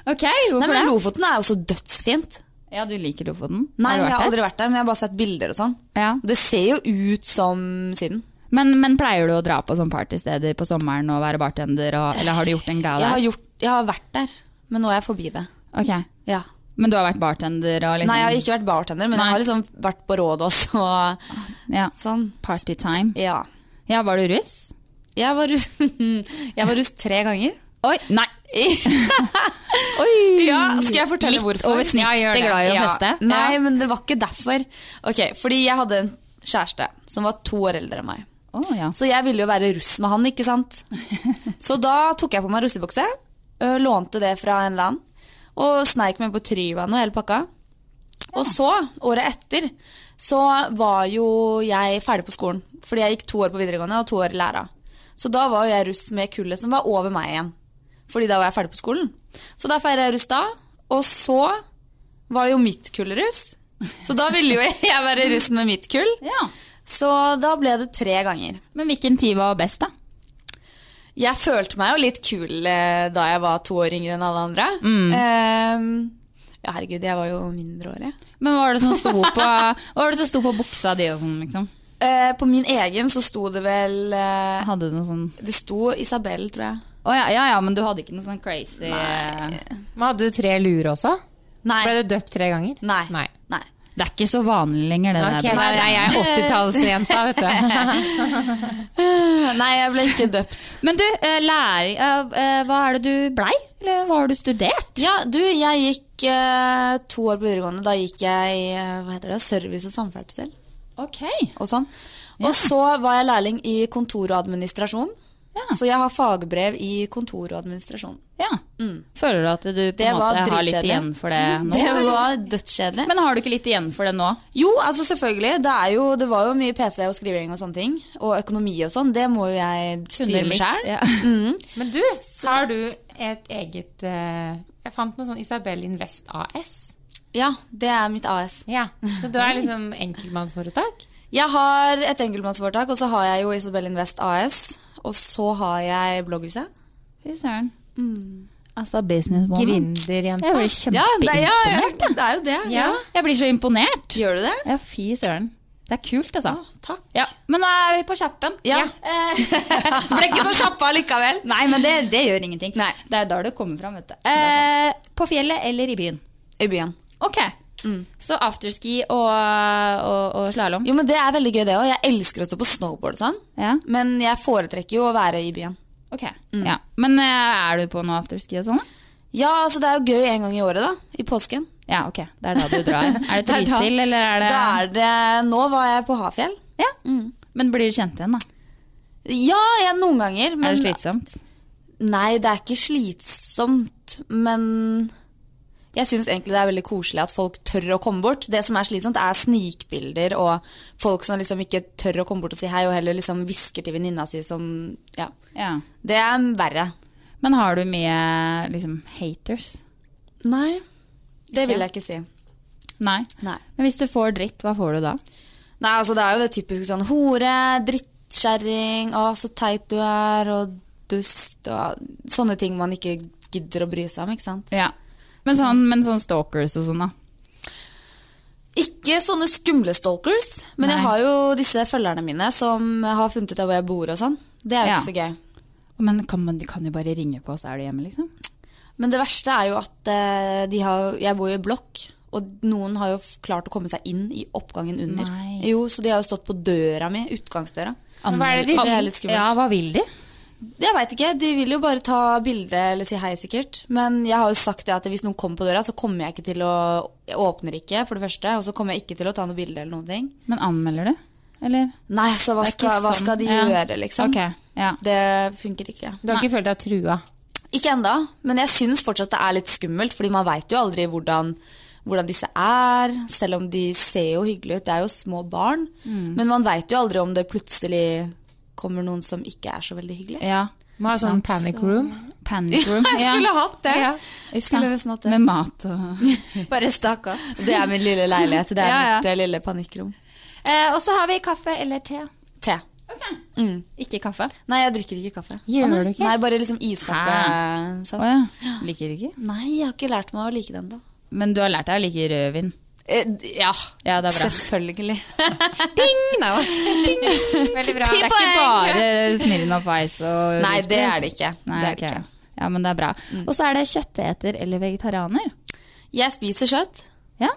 Speaker 1: Ok,
Speaker 4: Nei,
Speaker 1: hvorfor
Speaker 4: men
Speaker 1: det?
Speaker 4: Lofoten er jo så dødsfint.
Speaker 1: Ja, du liker Lofoten?
Speaker 4: Nei, jeg
Speaker 1: Har du
Speaker 4: har
Speaker 1: vært der?
Speaker 4: aldri vært der, men jeg har bare sett bilder og sånn.
Speaker 1: Ja.
Speaker 4: Og Det ser jo ut som Syden.
Speaker 1: Men, men pleier du å dra på sånn partysteder på sommeren og være bartender, og, eller har du gjort en greie
Speaker 4: Jeg har,
Speaker 1: der?
Speaker 4: gjort, jeg har vært der, men nå er jeg forbi det.
Speaker 1: Ok.
Speaker 4: Ja.
Speaker 1: Men du har vært bartender og liksom
Speaker 4: Nei, jeg har ikke vært bartender, men
Speaker 1: Nei.
Speaker 4: jeg har liksom vært på Rådås og
Speaker 1: ja.
Speaker 4: sånn.
Speaker 1: Partytime.
Speaker 4: Ja.
Speaker 1: Ja, var du russ?
Speaker 4: Jeg var russ, jeg var russ tre ganger.
Speaker 1: Oi, nei!
Speaker 4: Ja, skal jeg fortelle hvorfor?
Speaker 1: over snittet
Speaker 4: Ja, gjør det.
Speaker 1: glad i å feste.
Speaker 4: Nei,
Speaker 1: Ja.
Speaker 4: men det var ikke derfor. Ok, Fordi jeg hadde en kjæreste som var to år eldre enn meg.
Speaker 1: Å ja.
Speaker 4: Så jeg ville jo være russ med han, ikke sant? Så da tok jeg på meg russebukse, ø, lånte det fra en eller annen, og sneik meg på Tryvann og hele pakka. Og så, året etter, så var jo jeg ferdig på skolen. Fordi jeg gikk to år på videregående og to år i læra. Så da var jo jeg russ med kullet som var over meg igjen. Fordi da var jeg ferdig på skolen. Så da feira jeg russ da, og så var jo mitt kull russ. Så da ville jo jeg være russ med mitt kull.
Speaker 1: ja.
Speaker 4: Så da ble det tre ganger.
Speaker 1: Men hvilken tid var best, da?
Speaker 4: Jeg følte meg jo litt kul eh, da jeg var to år yngre enn alle andre. Eh, ja, herregud, jeg var jo mindreårig.
Speaker 1: Men hva var det som sto på, hva var det som sto på buksa di og sånn, liksom?
Speaker 4: Eh, på min egen så sto det vel eh,
Speaker 1: Hadde du noe sånn
Speaker 4: Det sto Isabel, tror jeg.
Speaker 1: Å ja, ja, ja, men du hadde ikke noe sånn crazy
Speaker 2: Men hadde du tre luer også?
Speaker 4: Nei.
Speaker 2: Ble du døpt tre ganger?
Speaker 4: Nei.
Speaker 2: Nei.
Speaker 4: Nei.
Speaker 1: Det er ikke så vanlig lenger, det
Speaker 2: Ok,
Speaker 1: der.
Speaker 2: nei, nei, jeg er 80-tallsjenta, vet du.
Speaker 4: Nei, jeg ble ikke døpt.
Speaker 1: Men du, eh, lærer, eh, eh, hva er det du blei? Eller hva har du studert?
Speaker 4: Ja, du, jeg gikk eh, to år på videregående. Da gikk jeg eh, hva heter det, service og samferdsel
Speaker 1: Ok.
Speaker 4: og sånn. Og så var jeg lærling i kontor og administrasjon.
Speaker 1: Ja.
Speaker 4: Så jeg har fagbrev i kontor og administrasjon.
Speaker 1: Ja. Føler du at du på
Speaker 4: Mm. Det
Speaker 1: en
Speaker 4: var
Speaker 1: måte har litt
Speaker 4: dritkjedelig.
Speaker 1: igjen for det nå?
Speaker 4: Det
Speaker 1: eller?
Speaker 4: var dødskjedelig.
Speaker 1: Men har du ikke litt igjen for det nå?
Speaker 4: Jo, altså selvfølgelig. Det, er jo, det var jo mye PC og skriving og sånne ting. Og økonomi og sånn. Det må jo jeg styre sjøl.
Speaker 1: Ja.
Speaker 2: Men du, har du et eget eh, Jeg fant noe sånn Isabel Invest AS.
Speaker 4: Ja, det er mitt AS.
Speaker 2: Ja. Så du er liksom enkeltmannsforetak?
Speaker 4: Jeg har et enkeltmannsforetak, og så har jeg jo Isabel Invest AS. Og så har jeg Blogghuset.
Speaker 1: Fy søren. Altså, businesswoman.
Speaker 2: Gründerjente?
Speaker 1: Jeg blir
Speaker 4: Ja, det, er-
Speaker 1: kjempeimponert.
Speaker 4: ja, jeg- det er jo det.
Speaker 2: Ja.
Speaker 1: Jeg blir så imponert.
Speaker 4: Gjør du det?
Speaker 1: Ja, fy søren. Det er kult, altså.
Speaker 4: Takk.
Speaker 1: Ja, Men nå er vi på kjappen. Eh.
Speaker 4: Ja. Ble ikke så kjappa likevel.
Speaker 1: Nei, men det, det gjør ingenting. Det er da det kommer fram. Vet du. Eh, på fjellet eller i byen? Mm.
Speaker 4: I byen.
Speaker 1: Ok. Så afterski og, og, og slalåm.
Speaker 4: Jo, men Det er veldig gøy, det òg. Jeg elsker å stå på snowboard og sånn.
Speaker 1: Ja.
Speaker 4: Men jeg foretrekker jo å være i byen.
Speaker 1: Ok. Ja. Men eh, er du på noe afterski og sånn? da?
Speaker 4: Ja, altså Det er jo gøy en gang i året, da. I påsken.
Speaker 1: Ja, ok. Det er da du drar. er det
Speaker 4: Det er da-
Speaker 1: Trysil, eller er det Mm.
Speaker 4: Da er det, Nå var jeg på Hafjell.
Speaker 1: Ja. Men blir du kjent igjen, da?
Speaker 4: Ja, jeg, noen ganger. Men,
Speaker 1: er det slitsomt?
Speaker 4: Nei, det er ikke slitsomt, men jeg syns egentlig det er veldig koselig at folk tør å komme bort. Det som er slitsomt, er snikbilder og folk som liksom ikke tør å komme bort og si hei, og heller liksom hvisker til venninna si som Ja.
Speaker 1: Ja.
Speaker 4: Det er verre.
Speaker 1: Men har du mye liksom, haters?
Speaker 4: Nei. Det vil jeg ikke si.
Speaker 1: Nei. Men hvis du får dritt, hva får du da?
Speaker 4: Nei, altså det er jo det typiske sånn hore, drittkjerring, å så teit du er, og dust, og sånne ting man ikke gidder å bry seg om, ikke sant?
Speaker 1: Ja. Men sånn, men sånn stalkers og sånn, da?
Speaker 4: Ikke sånne skumle stalkers, men jeg har jo disse følgerne mine som har funnet ut av hvor jeg bor og sånn. Det er jo
Speaker 1: Ja.
Speaker 4: ikke så gøy.
Speaker 1: Men kan man, de kan jo bare ringe på, så er du hjemme, liksom?
Speaker 4: Men det verste er jo at eh, de har, jeg bor jo i blokk, og noen har jo f- klart å komme seg inn i oppgangen under.
Speaker 1: Nei.
Speaker 4: Jo, Så de har jo stått på døra mi, utgangsdøra.
Speaker 1: Men hva er det de-
Speaker 4: er litt skummelt.
Speaker 1: Ja, hva vil de?
Speaker 4: Jeg veit ikke. De vil jo bare ta bilde eller si hei, sikkert. Men jeg har jo sagt det at hvis noen kommer på døra, så kommer jeg ikke til å Jeg åpner ikke, for det første. Og så kommer jeg ikke til å ta noe bilde eller noen ting.
Speaker 1: Men anmelder du? Eller?
Speaker 4: Nei, så hva,
Speaker 1: Det er ikke
Speaker 4: skal, hva
Speaker 1: sånn-
Speaker 4: skal de
Speaker 1: ja.
Speaker 4: gjøre, liksom?
Speaker 1: Ok, ja.
Speaker 4: Det funker ikke.
Speaker 2: Du har ikke følt deg trua?
Speaker 4: Ikke enda, men jeg syns fortsatt det er litt skummelt, fordi man veit jo aldri hvordan, hvordan disse er, selv om de ser jo hyggelige ut, det er jo små barn.
Speaker 1: Mm.
Speaker 4: Men man veit jo aldri om det plutselig kommer noen som ikke er så veldig hyggelig.
Speaker 1: Ja.
Speaker 2: Må ha sånn panic room.
Speaker 1: Panic room.
Speaker 4: jeg skulle
Speaker 1: ja.
Speaker 4: hatt det!
Speaker 2: Ja.
Speaker 1: Uff,
Speaker 4: Skulle
Speaker 1: da.
Speaker 4: nesten hatt det.
Speaker 1: Med mat og Bare stakk av.
Speaker 4: Det er min lille leilighet, det er
Speaker 1: Ja, ja.
Speaker 4: mitt eh, lille panikkrom.
Speaker 1: Eh, og så har vi kaffe eller te.
Speaker 4: Te.
Speaker 1: Mm. Ikke kaffe.
Speaker 4: Nei, jeg drikker ikke kaffe.
Speaker 2: Gjør
Speaker 4: Anna?
Speaker 2: du ikke?
Speaker 4: Nei, bare liksom iskaffe.
Speaker 1: Å
Speaker 4: Sånn.
Speaker 1: ja. Liker ikke.
Speaker 4: Nei, jeg har ikke lært meg å like den, da.
Speaker 1: Men du har lært deg å like rødvin.
Speaker 4: Eh, d- ja,
Speaker 1: Ja, det er bra.
Speaker 4: selvfølgelig.
Speaker 2: Veldig bra.
Speaker 1: Det er ikke bare Smirnoff Ice og
Speaker 4: Nei, det er det ikke. det
Speaker 1: Nei,
Speaker 4: er det
Speaker 1: ok.
Speaker 4: ikke. Mm.
Speaker 1: Ja, men det er bra. Og så er det kjøtteter eller vegetarianer.
Speaker 4: Jeg spiser kjøtt,
Speaker 1: Ja.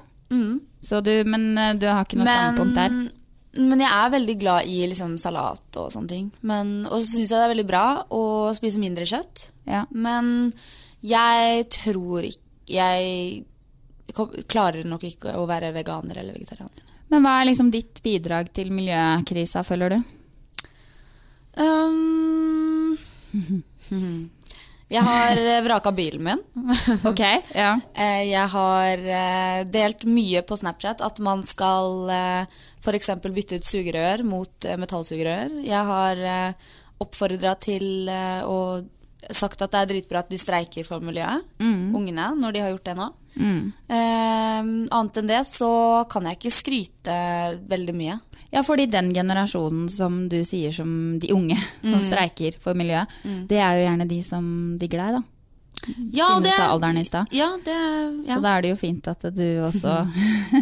Speaker 1: Så du, men eh, du har ikke noe standpunkt der?
Speaker 4: Mm. men, men jeg er veldig glad i liksom, salat og sånne ting. Men, og så syns jeg det er veldig bra å spise mindre kjøtt.
Speaker 1: Ja.
Speaker 4: Men jeg tror ikke Jeg kom- klarer nok ikke å være veganer eller vegetarianer.
Speaker 1: Men hva er liksom ditt bidrag til miljøkrisa, føler du?
Speaker 4: Um, jeg har eh, vraka bilen min.
Speaker 1: Ok, ja.
Speaker 4: Eh, Jeg har eh, delt mye på Snapchat at man skal f.eks. bytte ut sugerør mot eh, metallsugerør. Jeg har oppfordra til eh, og sagt at det er dritbra at de streiker for miljøet.
Speaker 1: Mm.
Speaker 4: Ungene, når de har gjort det nå. Eh, annet enn det så kan jeg ikke skryte veldig mye.
Speaker 1: Ja, fordi den generasjonen som du sier som de unge som
Speaker 4: Mm.
Speaker 1: streiker for miljøet, det er jo gjerne de som digger deg, da.
Speaker 4: Ja,
Speaker 1: Siden du sa alderen i stad.
Speaker 4: Ja, det
Speaker 1: Så da er det jo fint at du også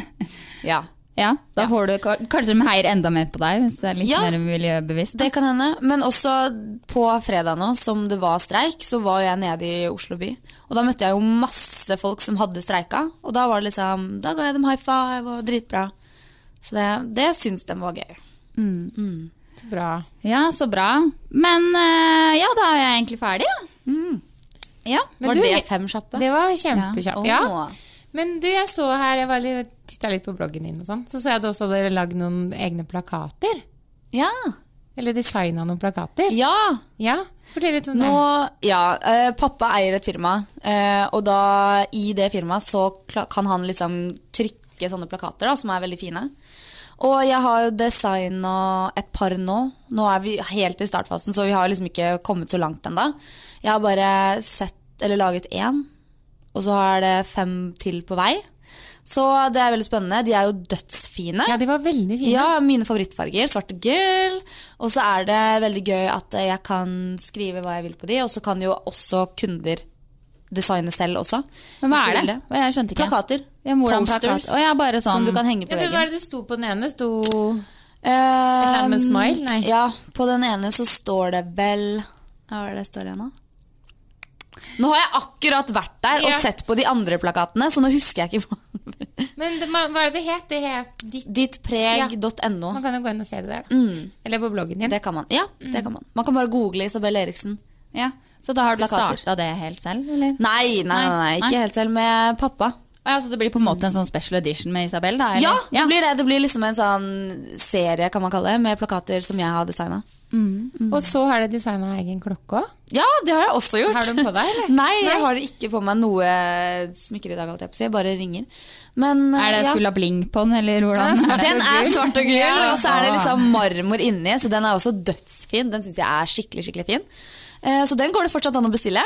Speaker 4: ja.
Speaker 1: Ja, da
Speaker 4: Ja.
Speaker 1: får du ka- Kanskje de heier enda mer på deg, hvis du er litt
Speaker 4: Ja.
Speaker 1: mer miljøbevisst.
Speaker 4: Det kan hende. Men også på fredag nå, som det var streik, så var jeg nede i Oslo by. Og da møtte jeg jo masse folk som hadde streika. Og da var det liksom Da ga jeg dem high five og dritbra. Så det, det syns de var gøy.
Speaker 2: Bra.
Speaker 1: Ja, så bra. Men eh, ja, da er jeg egentlig ferdig, da.
Speaker 4: Mm.
Speaker 1: Ja.
Speaker 2: Men
Speaker 4: var
Speaker 2: du-
Speaker 4: det fem kjappe?
Speaker 2: Det var kjempekjapt. Ja.
Speaker 4: Åh.
Speaker 2: Men du, jeg så her, jeg var litt, tittet litt på bloggen din og sånn, så så jeg at du også hadde lagd noen egne plakater.
Speaker 4: Ja.
Speaker 2: Eller designa noen plakater.
Speaker 4: ja.
Speaker 2: Ja, fortell litt om det.
Speaker 4: Nå, ja, eh, pappa eier et firma, eh, og da i det firmaet så kla- kan han liksom trykke sånne plakater da, som er veldig fine. Og jeg har jo designa et par nå. Nå er vi helt i startfasen, så vi har liksom ikke kommet så langt ennå. Jeg har bare sett, eller laget én, og så er det fem til på vei. Så det er veldig spennende. De er jo dødsfine.
Speaker 2: Ja, de var veldig fine.
Speaker 4: Ja, mine favorittfarger. Svart og gull. Og så er det veldig gøy at jeg kan skrive hva jeg vil på de, og så kan jo også kunder designe selv også.
Speaker 1: Men hva
Speaker 4: hvis de
Speaker 1: er
Speaker 4: vil
Speaker 1: det? Hva, Jeg skjønte ikke.
Speaker 4: Plakater.
Speaker 1: Ja, hvordan
Speaker 4: Posters.
Speaker 1: plakat? Å, ja, bare
Speaker 4: Som
Speaker 1: sånn.
Speaker 4: du kan henge på
Speaker 2: Ja, det
Speaker 4: veggen.
Speaker 2: var det det sto på den ene. Sto
Speaker 4: Eh,
Speaker 2: Et eller annet med smile? Nei.
Speaker 4: Ja, på den ene så står det vel Hva er det det står igjen, da? Nå har jeg akkurat vært der og
Speaker 2: Ja.
Speaker 4: sett på de andre plakatene, så nå husker jeg ikke hva
Speaker 2: Men det, hva er det det het? Det het ditt.
Speaker 4: Dittpreg.no.
Speaker 2: Man kan jo gå inn og se det der, da. Eller på bloggen din.
Speaker 4: Mm. Det kan man. Ja, Mm. det kan man. Man kan bare google Isabel Eriksen.
Speaker 1: Ja. Så da har du
Speaker 4: Plakater.
Speaker 1: starta det helt selv, eller?
Speaker 4: Nei, nei, nei, nei ikke
Speaker 1: Nei.
Speaker 4: helt selv. Med pappa.
Speaker 1: Å Ja, så det blir på en måte en sånn special edition med Isabel, da? eller?
Speaker 4: Ja, det blir det. Det blir liksom en sånn serie, kan man kalle det, med plakater som jeg har designa. mm.
Speaker 2: Og så har det designa egen klokke òg.
Speaker 4: Ja, det har jeg også gjort.
Speaker 2: Har du den på deg, eller?
Speaker 4: Nei, jeg har ikke på meg noe smykker i dag, holdt jeg på å si. Jeg bare ringer. Men,
Speaker 1: Er det
Speaker 4: ja.
Speaker 1: full av bling på den, eller hvordan? er det?
Speaker 4: sånn? Den er svart og gull,
Speaker 1: Ja. Ah.
Speaker 4: og så er det liksom marmor inni, så den er også dødsfin. Den syns jeg er skikkelig, skikkelig fin. Eh, Så den går det fortsatt an å bestille.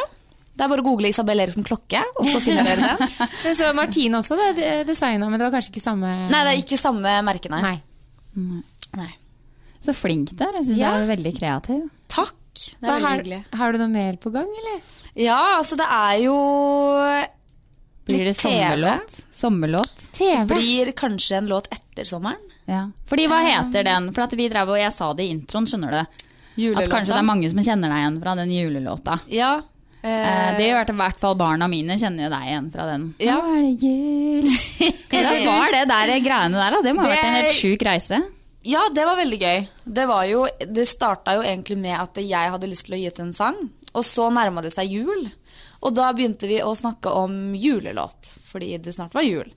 Speaker 4: Det er bare å google Isabel Eriksen klokke, og så finner dere den.
Speaker 2: Men så Martine også det, det designa, men det var kanskje ikke samme
Speaker 4: Nei, det er ikke samme merke, nei. Nei.
Speaker 1: Så flink du er. Jeg syns
Speaker 2: Ja.
Speaker 1: du er veldig kreativ.
Speaker 4: Takk. Det
Speaker 2: Hva
Speaker 4: er veldig
Speaker 2: har,
Speaker 4: hyggelig.
Speaker 2: har du noe mer på gang, eller?
Speaker 4: Ja, altså det er jo
Speaker 1: Blir det
Speaker 4: litt TV.
Speaker 1: sommerlåt? Sommerlåt?
Speaker 2: TV?
Speaker 4: Blir kanskje en låt etter sommeren?
Speaker 1: Ja. Fordi hva heter den? For at vi drev, og jeg sa det i introen, skjønner du.
Speaker 4: Julelåta.
Speaker 1: At kanskje det er mange som kjenner deg igjen fra den julelåta.
Speaker 4: Ja.
Speaker 1: Eh, det gjør i hvert fall barna mine kjenner jo deg igjen fra den.
Speaker 4: Ja.
Speaker 1: Nå er det jul. Kanskje
Speaker 4: Ja.
Speaker 1: var det der greiene der, da. Det må ha vært en
Speaker 4: Det-
Speaker 1: helt sjuk reise.
Speaker 4: Ja, det var veldig gøy. Det, var jo, det starta jo egentlig med at jeg hadde lyst til å gi ut en sang, og så nærma det seg jul. Og da begynte vi å snakke om julelåt, fordi det snart var jul.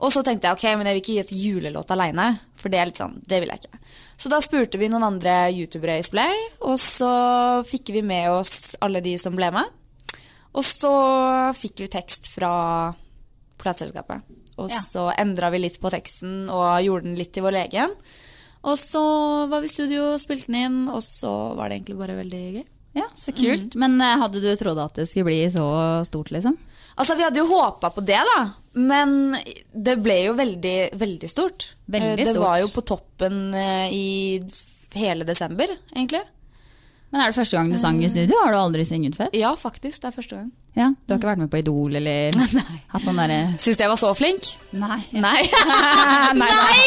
Speaker 4: Og så tenkte jeg ok, men jeg vil ikke gi ut julelåt aleine, for det er litt sånn, det vil jeg ikke. Så da spurte vi noen andre youtubere i Splay, og så fikk vi med oss alle de som ble med. Og så fikk vi tekst fra plateselskapet. Og
Speaker 1: Ja.
Speaker 4: så endra vi litt på teksten og gjorde den litt til vår egen. Og så var vi i studio og spilte den inn, og så var det egentlig bare veldig gøy.
Speaker 1: Ja, Så
Speaker 4: Mm.
Speaker 1: kult. Men eh, hadde du trodd at det skulle bli så stort, liksom?
Speaker 4: Altså, Vi hadde jo håpa på det, da, men det ble jo veldig, veldig stort.
Speaker 1: Veldig
Speaker 4: Eh, det
Speaker 1: stort.
Speaker 4: var jo på toppen eh, i f- hele desember, egentlig.
Speaker 1: Men er det første gang du sang
Speaker 4: Eh.
Speaker 1: i studio? Har du aldri sunget før?
Speaker 4: Ja, faktisk. Det er første gang.
Speaker 1: Ja, Du har ikke vært med på Idol eller hatt sånn derre
Speaker 4: Syns jeg var så flink?
Speaker 1: Nei.
Speaker 4: Nei!
Speaker 1: Nei!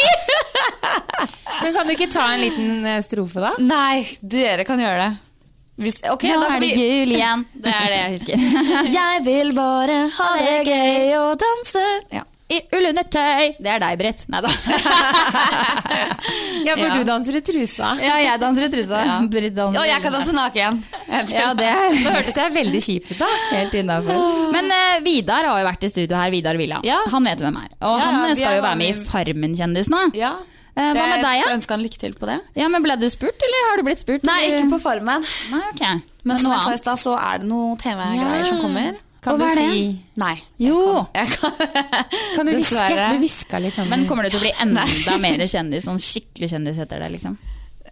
Speaker 2: Men kan du ikke ta en liten eh, strofe, da?
Speaker 4: Nei, dere kan gjøre det. Hvis, ok,
Speaker 1: Nå
Speaker 4: da
Speaker 1: er
Speaker 4: kan vi
Speaker 1: det jul igjen. Det er det jeg husker.
Speaker 4: Jeg vil bare ha det gøy og danse. Ja.
Speaker 1: I ullundertøy. Det er deg, Britt. Nei da.
Speaker 2: Ja, for
Speaker 1: Ja.
Speaker 2: du danser i trusa.
Speaker 4: ja, jeg danser i trusa.
Speaker 1: Ja, Britt danser.
Speaker 4: Og jeg kan danse naken.
Speaker 1: Ja, det
Speaker 2: Nå hørtes jeg veldig kjip ut, da.
Speaker 1: Helt innafor. Men eh, Vidar har jo vært i studio her. Vidar Villa.
Speaker 4: Ja.
Speaker 1: Han vet hvem er.
Speaker 4: Ja,
Speaker 1: Og
Speaker 4: ja,
Speaker 1: han
Speaker 4: vi
Speaker 1: skal
Speaker 4: er
Speaker 1: jo være med i
Speaker 4: med
Speaker 1: Farmen-kjendis nå.
Speaker 4: Ja.
Speaker 1: Eh, hva med deg, ja?
Speaker 4: Jeg ønsker han lykke til på det.
Speaker 1: ja? Men ble du spurt, eller har du blitt spurt?
Speaker 4: Nei,
Speaker 1: eller?
Speaker 4: ikke på Farmen.
Speaker 1: Nei, ok.
Speaker 4: Men som
Speaker 1: noe
Speaker 4: jeg sa i
Speaker 1: annet.
Speaker 4: stad, så er det noen TV-greier som kommer.
Speaker 2: Kan
Speaker 1: Og
Speaker 2: du
Speaker 1: hva er det?
Speaker 2: si
Speaker 4: Nei.
Speaker 1: Jo,
Speaker 2: Kan du hviske?
Speaker 4: Dessverre.
Speaker 2: Du hviska litt sånn.
Speaker 1: men kommer du til å bli enda mer kjendis? Sånn skikkelig kjendis heter det, liksom?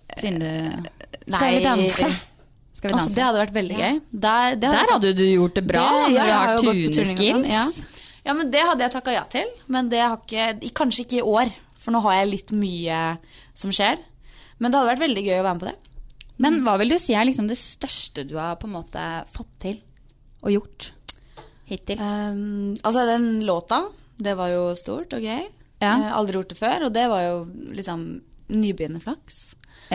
Speaker 1: Siden du
Speaker 2: Skal vi danse?
Speaker 1: Skal vi
Speaker 4: Åh,
Speaker 1: danse?
Speaker 4: det hadde vært veldig gøy. Der, det
Speaker 1: Der hadde du gjort det bra.
Speaker 4: Det- ja,
Speaker 1: når du
Speaker 4: jeg
Speaker 1: har,
Speaker 4: har jo gått på turning og sånn,
Speaker 1: turneskills.
Speaker 4: ja. Ja, men Det hadde jeg takka ja til, men det har ikke, i- kanskje ikke i år. For nå har jeg litt mye som skjer. Men det hadde vært veldig gøy å være med på det.
Speaker 1: Men hva vil du si er liksom det største du har på en måte fått til og gjort hittil?
Speaker 4: Ehm, altså, den låta, det var jo stort og gøy.
Speaker 1: Ja.
Speaker 4: Eh, aldri gjort det før, og det var jo liksom nybegynnerflaks.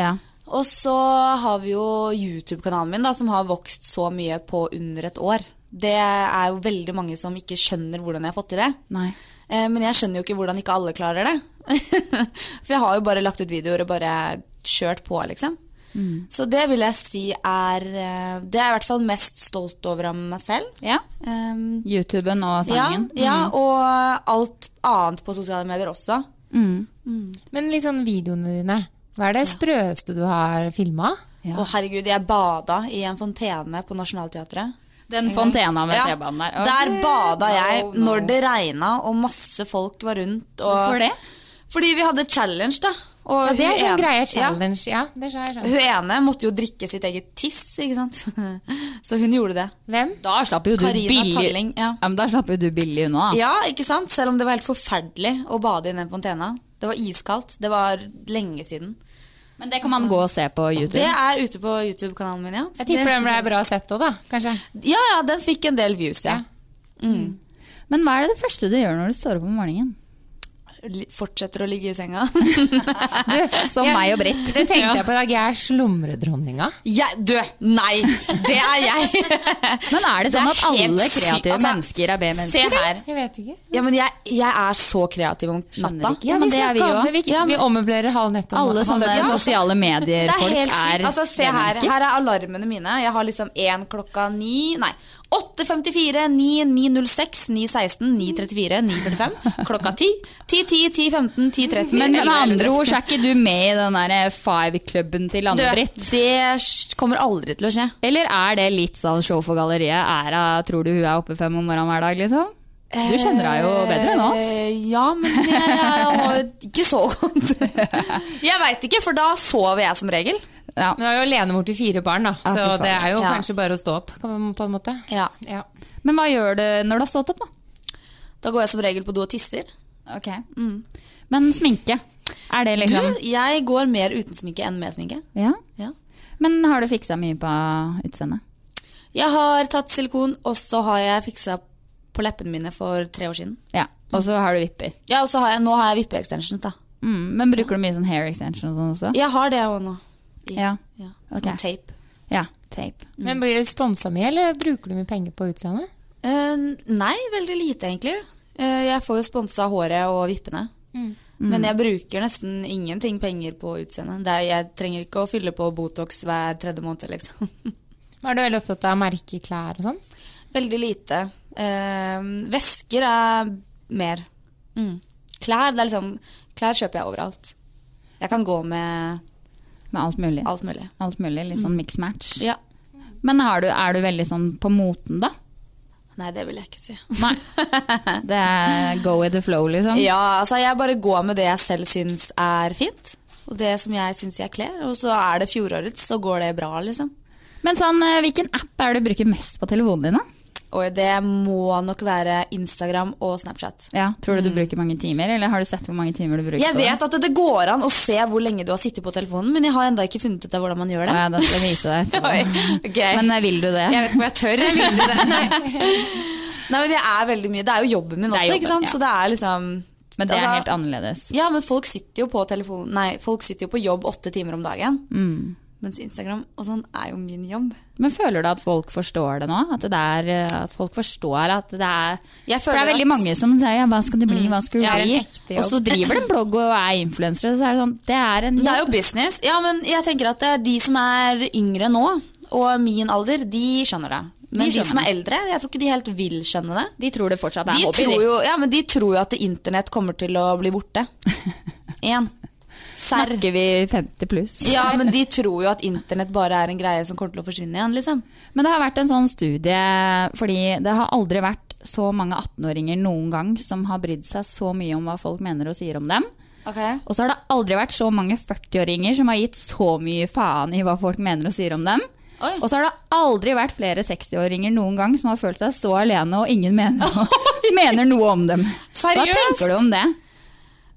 Speaker 1: Ja.
Speaker 4: Og så har vi jo YouTube-kanalen min, da, som har vokst så mye på under et år. Det er jo veldig mange som ikke skjønner hvordan jeg har fått til det.
Speaker 1: Nei.
Speaker 4: Eh, Men jeg skjønner jo ikke hvordan ikke alle klarer det. For jeg har jo bare lagt ut videoer og bare kjørt på, liksom.
Speaker 1: Mm.
Speaker 4: Så det vil jeg si er eh, Det er jeg i hvert fall mest stolt over av meg selv.
Speaker 1: Ja.
Speaker 4: Um,
Speaker 1: YouTuben og
Speaker 4: ja,
Speaker 1: sangen.
Speaker 4: ja,
Speaker 2: Mm.
Speaker 4: og alt annet på sosiale medier også.
Speaker 2: Men liksom videoene dine. Hva er det sprøeste du har filma?
Speaker 4: Å, herregud, jeg bada i en fontene på Nationaltheatret.
Speaker 1: Den fontena med
Speaker 4: Ja,
Speaker 1: T-banen der. Ok.
Speaker 4: Der bada jeg
Speaker 1: No, no.
Speaker 4: når det regna og masse folk var rundt. Og
Speaker 1: Hvorfor det?
Speaker 4: Fordi vi hadde challenge, da. Og
Speaker 2: Ja, det er
Speaker 4: hun
Speaker 2: sånn
Speaker 4: ene-
Speaker 2: greie
Speaker 4: Ja.
Speaker 2: challenge. Ja, det skjønner jeg skjønner.
Speaker 4: Hun ene måtte jo drikke sitt eget tiss, ikke sant? Så hun gjorde det.
Speaker 2: Hvem?
Speaker 1: Da slapp jo du
Speaker 4: Karina
Speaker 1: billig
Speaker 4: Talling, ja.
Speaker 1: men Da slapp jo du billig
Speaker 2: Ah.
Speaker 1: unna. da.
Speaker 4: Ja, ikke sant? Selv om det var helt forferdelig å bade i den fontena. Det var iskaldt. Det var lenge siden.
Speaker 1: Men det kan man gå og se på YouTube.
Speaker 4: Det er ute på YouTube-kanalen min, ja. Så
Speaker 2: Jeg tipper
Speaker 4: det-
Speaker 2: den ble bra sett òg, da. Kanskje.
Speaker 4: Ja, ja, den fikk en del views, ja.
Speaker 1: Men hva er det første du gjør når du står opp om morgenen?
Speaker 4: Li- Fortsetter å ligge i senga.
Speaker 1: Som meg og Britt.
Speaker 2: Det tenkte jeg på i dag. Jeg er slumredronninga.
Speaker 4: Jeg, du, nei! Det er jeg!
Speaker 1: Men er det sånn
Speaker 4: Det
Speaker 1: at
Speaker 4: er helt
Speaker 1: alle
Speaker 4: sykt,
Speaker 1: kreative
Speaker 4: altså.
Speaker 1: mennesker
Speaker 4: Se
Speaker 1: er B-mennesker?
Speaker 4: her.
Speaker 2: Jeg vet ikke.
Speaker 4: Ja, men jeg, jeg er så kreativ om
Speaker 1: Skjønner
Speaker 4: natta.
Speaker 1: ikke. Ja, men det er vi
Speaker 2: snakket
Speaker 1: jo.
Speaker 2: om det. Vi,
Speaker 4: Ja, men-
Speaker 2: vi ommøblerer halv nett om
Speaker 1: Alle
Speaker 2: halv
Speaker 1: sånne
Speaker 2: nett. Ja.
Speaker 1: sosiale medier-folk
Speaker 4: Det er
Speaker 1: er,
Speaker 4: helt sykt. Altså, se her.
Speaker 1: B-mennesker.
Speaker 4: Her er alarmene mine. Jeg har liksom én klokka ni Nei. 8.54, 9, 9.06, 9.16, 9.34, 9.45, klokka 10, 10.10, 10.15, 10.30
Speaker 1: Men med andre ord
Speaker 4: 11.11.
Speaker 1: så er ikke du med i den der five-klubben til Anne-Britt.
Speaker 4: Du, Det kommer aldri til å skje.
Speaker 1: Eller er det litt sånn show for galleriet? Er hun- tror du hun er oppe fem om morgenen hver dag, liksom? Du kjenner henne jo bedre enn oss.
Speaker 4: Eh, Ja, men jeg, jeg har ikke så godt Jeg veit ikke, for da sover jeg som regel.
Speaker 2: Hun er jo alenemor til fire barn, da.
Speaker 1: Ja,
Speaker 2: så
Speaker 1: fy faen.
Speaker 2: det er jo
Speaker 1: Ja.
Speaker 2: kanskje bare å stå opp, kan man- på en måte.
Speaker 4: Ja.
Speaker 2: Ja.
Speaker 4: Men hva gjør du når du har stått opp, da? Da går jeg som regel på do og tisser.
Speaker 1: Ok. mm. Men sminke, er det liksom
Speaker 4: Du, jeg går mer uten sminke enn med sminke.
Speaker 1: Ja.
Speaker 4: Ja.
Speaker 1: Men har du fiksa mye på utseendet?
Speaker 4: Jeg har tatt silikon, og så har jeg fiksa på leppene mine for tre år siden.
Speaker 1: Ja. Og så har du vipper.
Speaker 4: Ja, og så har jeg, Nå har jeg vippe-extensions, da.
Speaker 1: Mm. Men bruker du mye sånn hair extension og sånn også?
Speaker 4: Jeg har det òg nå. I-
Speaker 1: Ja.
Speaker 4: ja.
Speaker 1: Ok.
Speaker 4: Sånn tape.
Speaker 1: Ja, tape.
Speaker 2: Men blir du sponsa mye, eller bruker du mye penger på utseendet?
Speaker 4: Eh, nei, veldig lite, egentlig. Eh, jeg får jo sponsa håret og vippene. Men jeg bruker nesten ingenting penger på utseendet. Det er- Jeg trenger ikke å fylle på Botox hver tredje måned, liksom.
Speaker 2: Er du veldig opptatt av merkeklær og sånn?
Speaker 4: Veldig lite. Eh, vesker er mer. Mm. Klær, det er liksom, klær kjøper jeg overalt. Jeg kan gå med
Speaker 1: Med alt mulig?
Speaker 4: alt mulig.
Speaker 1: Alt mulig, Litt sånn mix match?
Speaker 4: Ja.
Speaker 1: Men har du, er du veldig sånn på moten, da?
Speaker 4: Nei, det vil jeg ikke si.
Speaker 1: Nei. Det er go with the flow, liksom?
Speaker 4: Ja, altså jeg bare går med det jeg selv syns er fint. Og det som jeg syns jeg kler. Og så er det fjorårets, så går det bra, liksom.
Speaker 1: Men sånn, eh, hvilken app er det du bruker mest på telefonen din, da?
Speaker 4: Og det må nok være Instagram og Snapchat.
Speaker 1: Ja, tror du du bruker mange timer, eller har du sett hvor mange timer du bruker
Speaker 4: Mm. Jeg
Speaker 1: på det?
Speaker 4: vet at det går an å se hvor lenge du har sittet på telefonen, men jeg har enda ikke funnet ut av hvordan man gjør det.
Speaker 1: Ja, da skal jeg vise deg etterpå. Men eh, vil du det?
Speaker 4: Jeg vet ikke om jeg tør. Jeg vil det. Nei. Nei, men det er veldig mye. Det er jo jobben min
Speaker 1: Det er
Speaker 4: også,
Speaker 1: jobben,
Speaker 4: ikke sant?
Speaker 1: ja.
Speaker 4: Så det er liksom
Speaker 1: Men det er
Speaker 4: altså,
Speaker 1: helt annerledes.
Speaker 4: Ja, men folk sitter jo på telefon Nei, folk sitter jo på jobb åtte timer om dagen.
Speaker 1: Mm.
Speaker 4: Mens Instagram og sånn er jo min jobb.
Speaker 1: Men føler du at folk forstår det nå? At, det er, eh, at folk forstår at det er
Speaker 4: Jeg
Speaker 1: For det er
Speaker 4: føler
Speaker 1: veldig
Speaker 4: at- Mm.
Speaker 1: mange som sier ja, hva skal du bli, hva skal du
Speaker 2: Det er en
Speaker 1: bli?
Speaker 2: ekte jobb.
Speaker 1: Og så driver de blogg og er influensere, så er det sånn Det er en
Speaker 4: Det er jo business. Ja, men jeg tenker at det er de som er yngre nå, og min alder, de skjønner det. Men de,
Speaker 1: skjønner
Speaker 4: som er eldre, jeg tror ikke de helt vil skjønne det.
Speaker 1: De tror det fortsatt er
Speaker 4: De
Speaker 1: hobby.
Speaker 4: tror, jo, ja, men de tror jo at internett kommer til å bli borte. Igjen. Serr.
Speaker 1: Snakker vi 50 pluss?
Speaker 4: Ja, men de tror jo at internett bare er en greie som kommer til å forsvinne igjen, liksom.
Speaker 1: Men det har vært en sånn studie, fordi det har aldri vært så mange 18-åringer noen gang som har brydd seg så mye om hva folk mener og sier om dem. Og så har det aldri vært så mange 40-åringer som har gitt så mye faen i hva folk mener og sier om dem.
Speaker 4: Oi.
Speaker 1: Og så har det aldri vært flere 60-åringer noen gang som har følt seg så alene og ingen mener, mener noe om dem. Hva
Speaker 4: Seriøst?
Speaker 1: tenker du om det?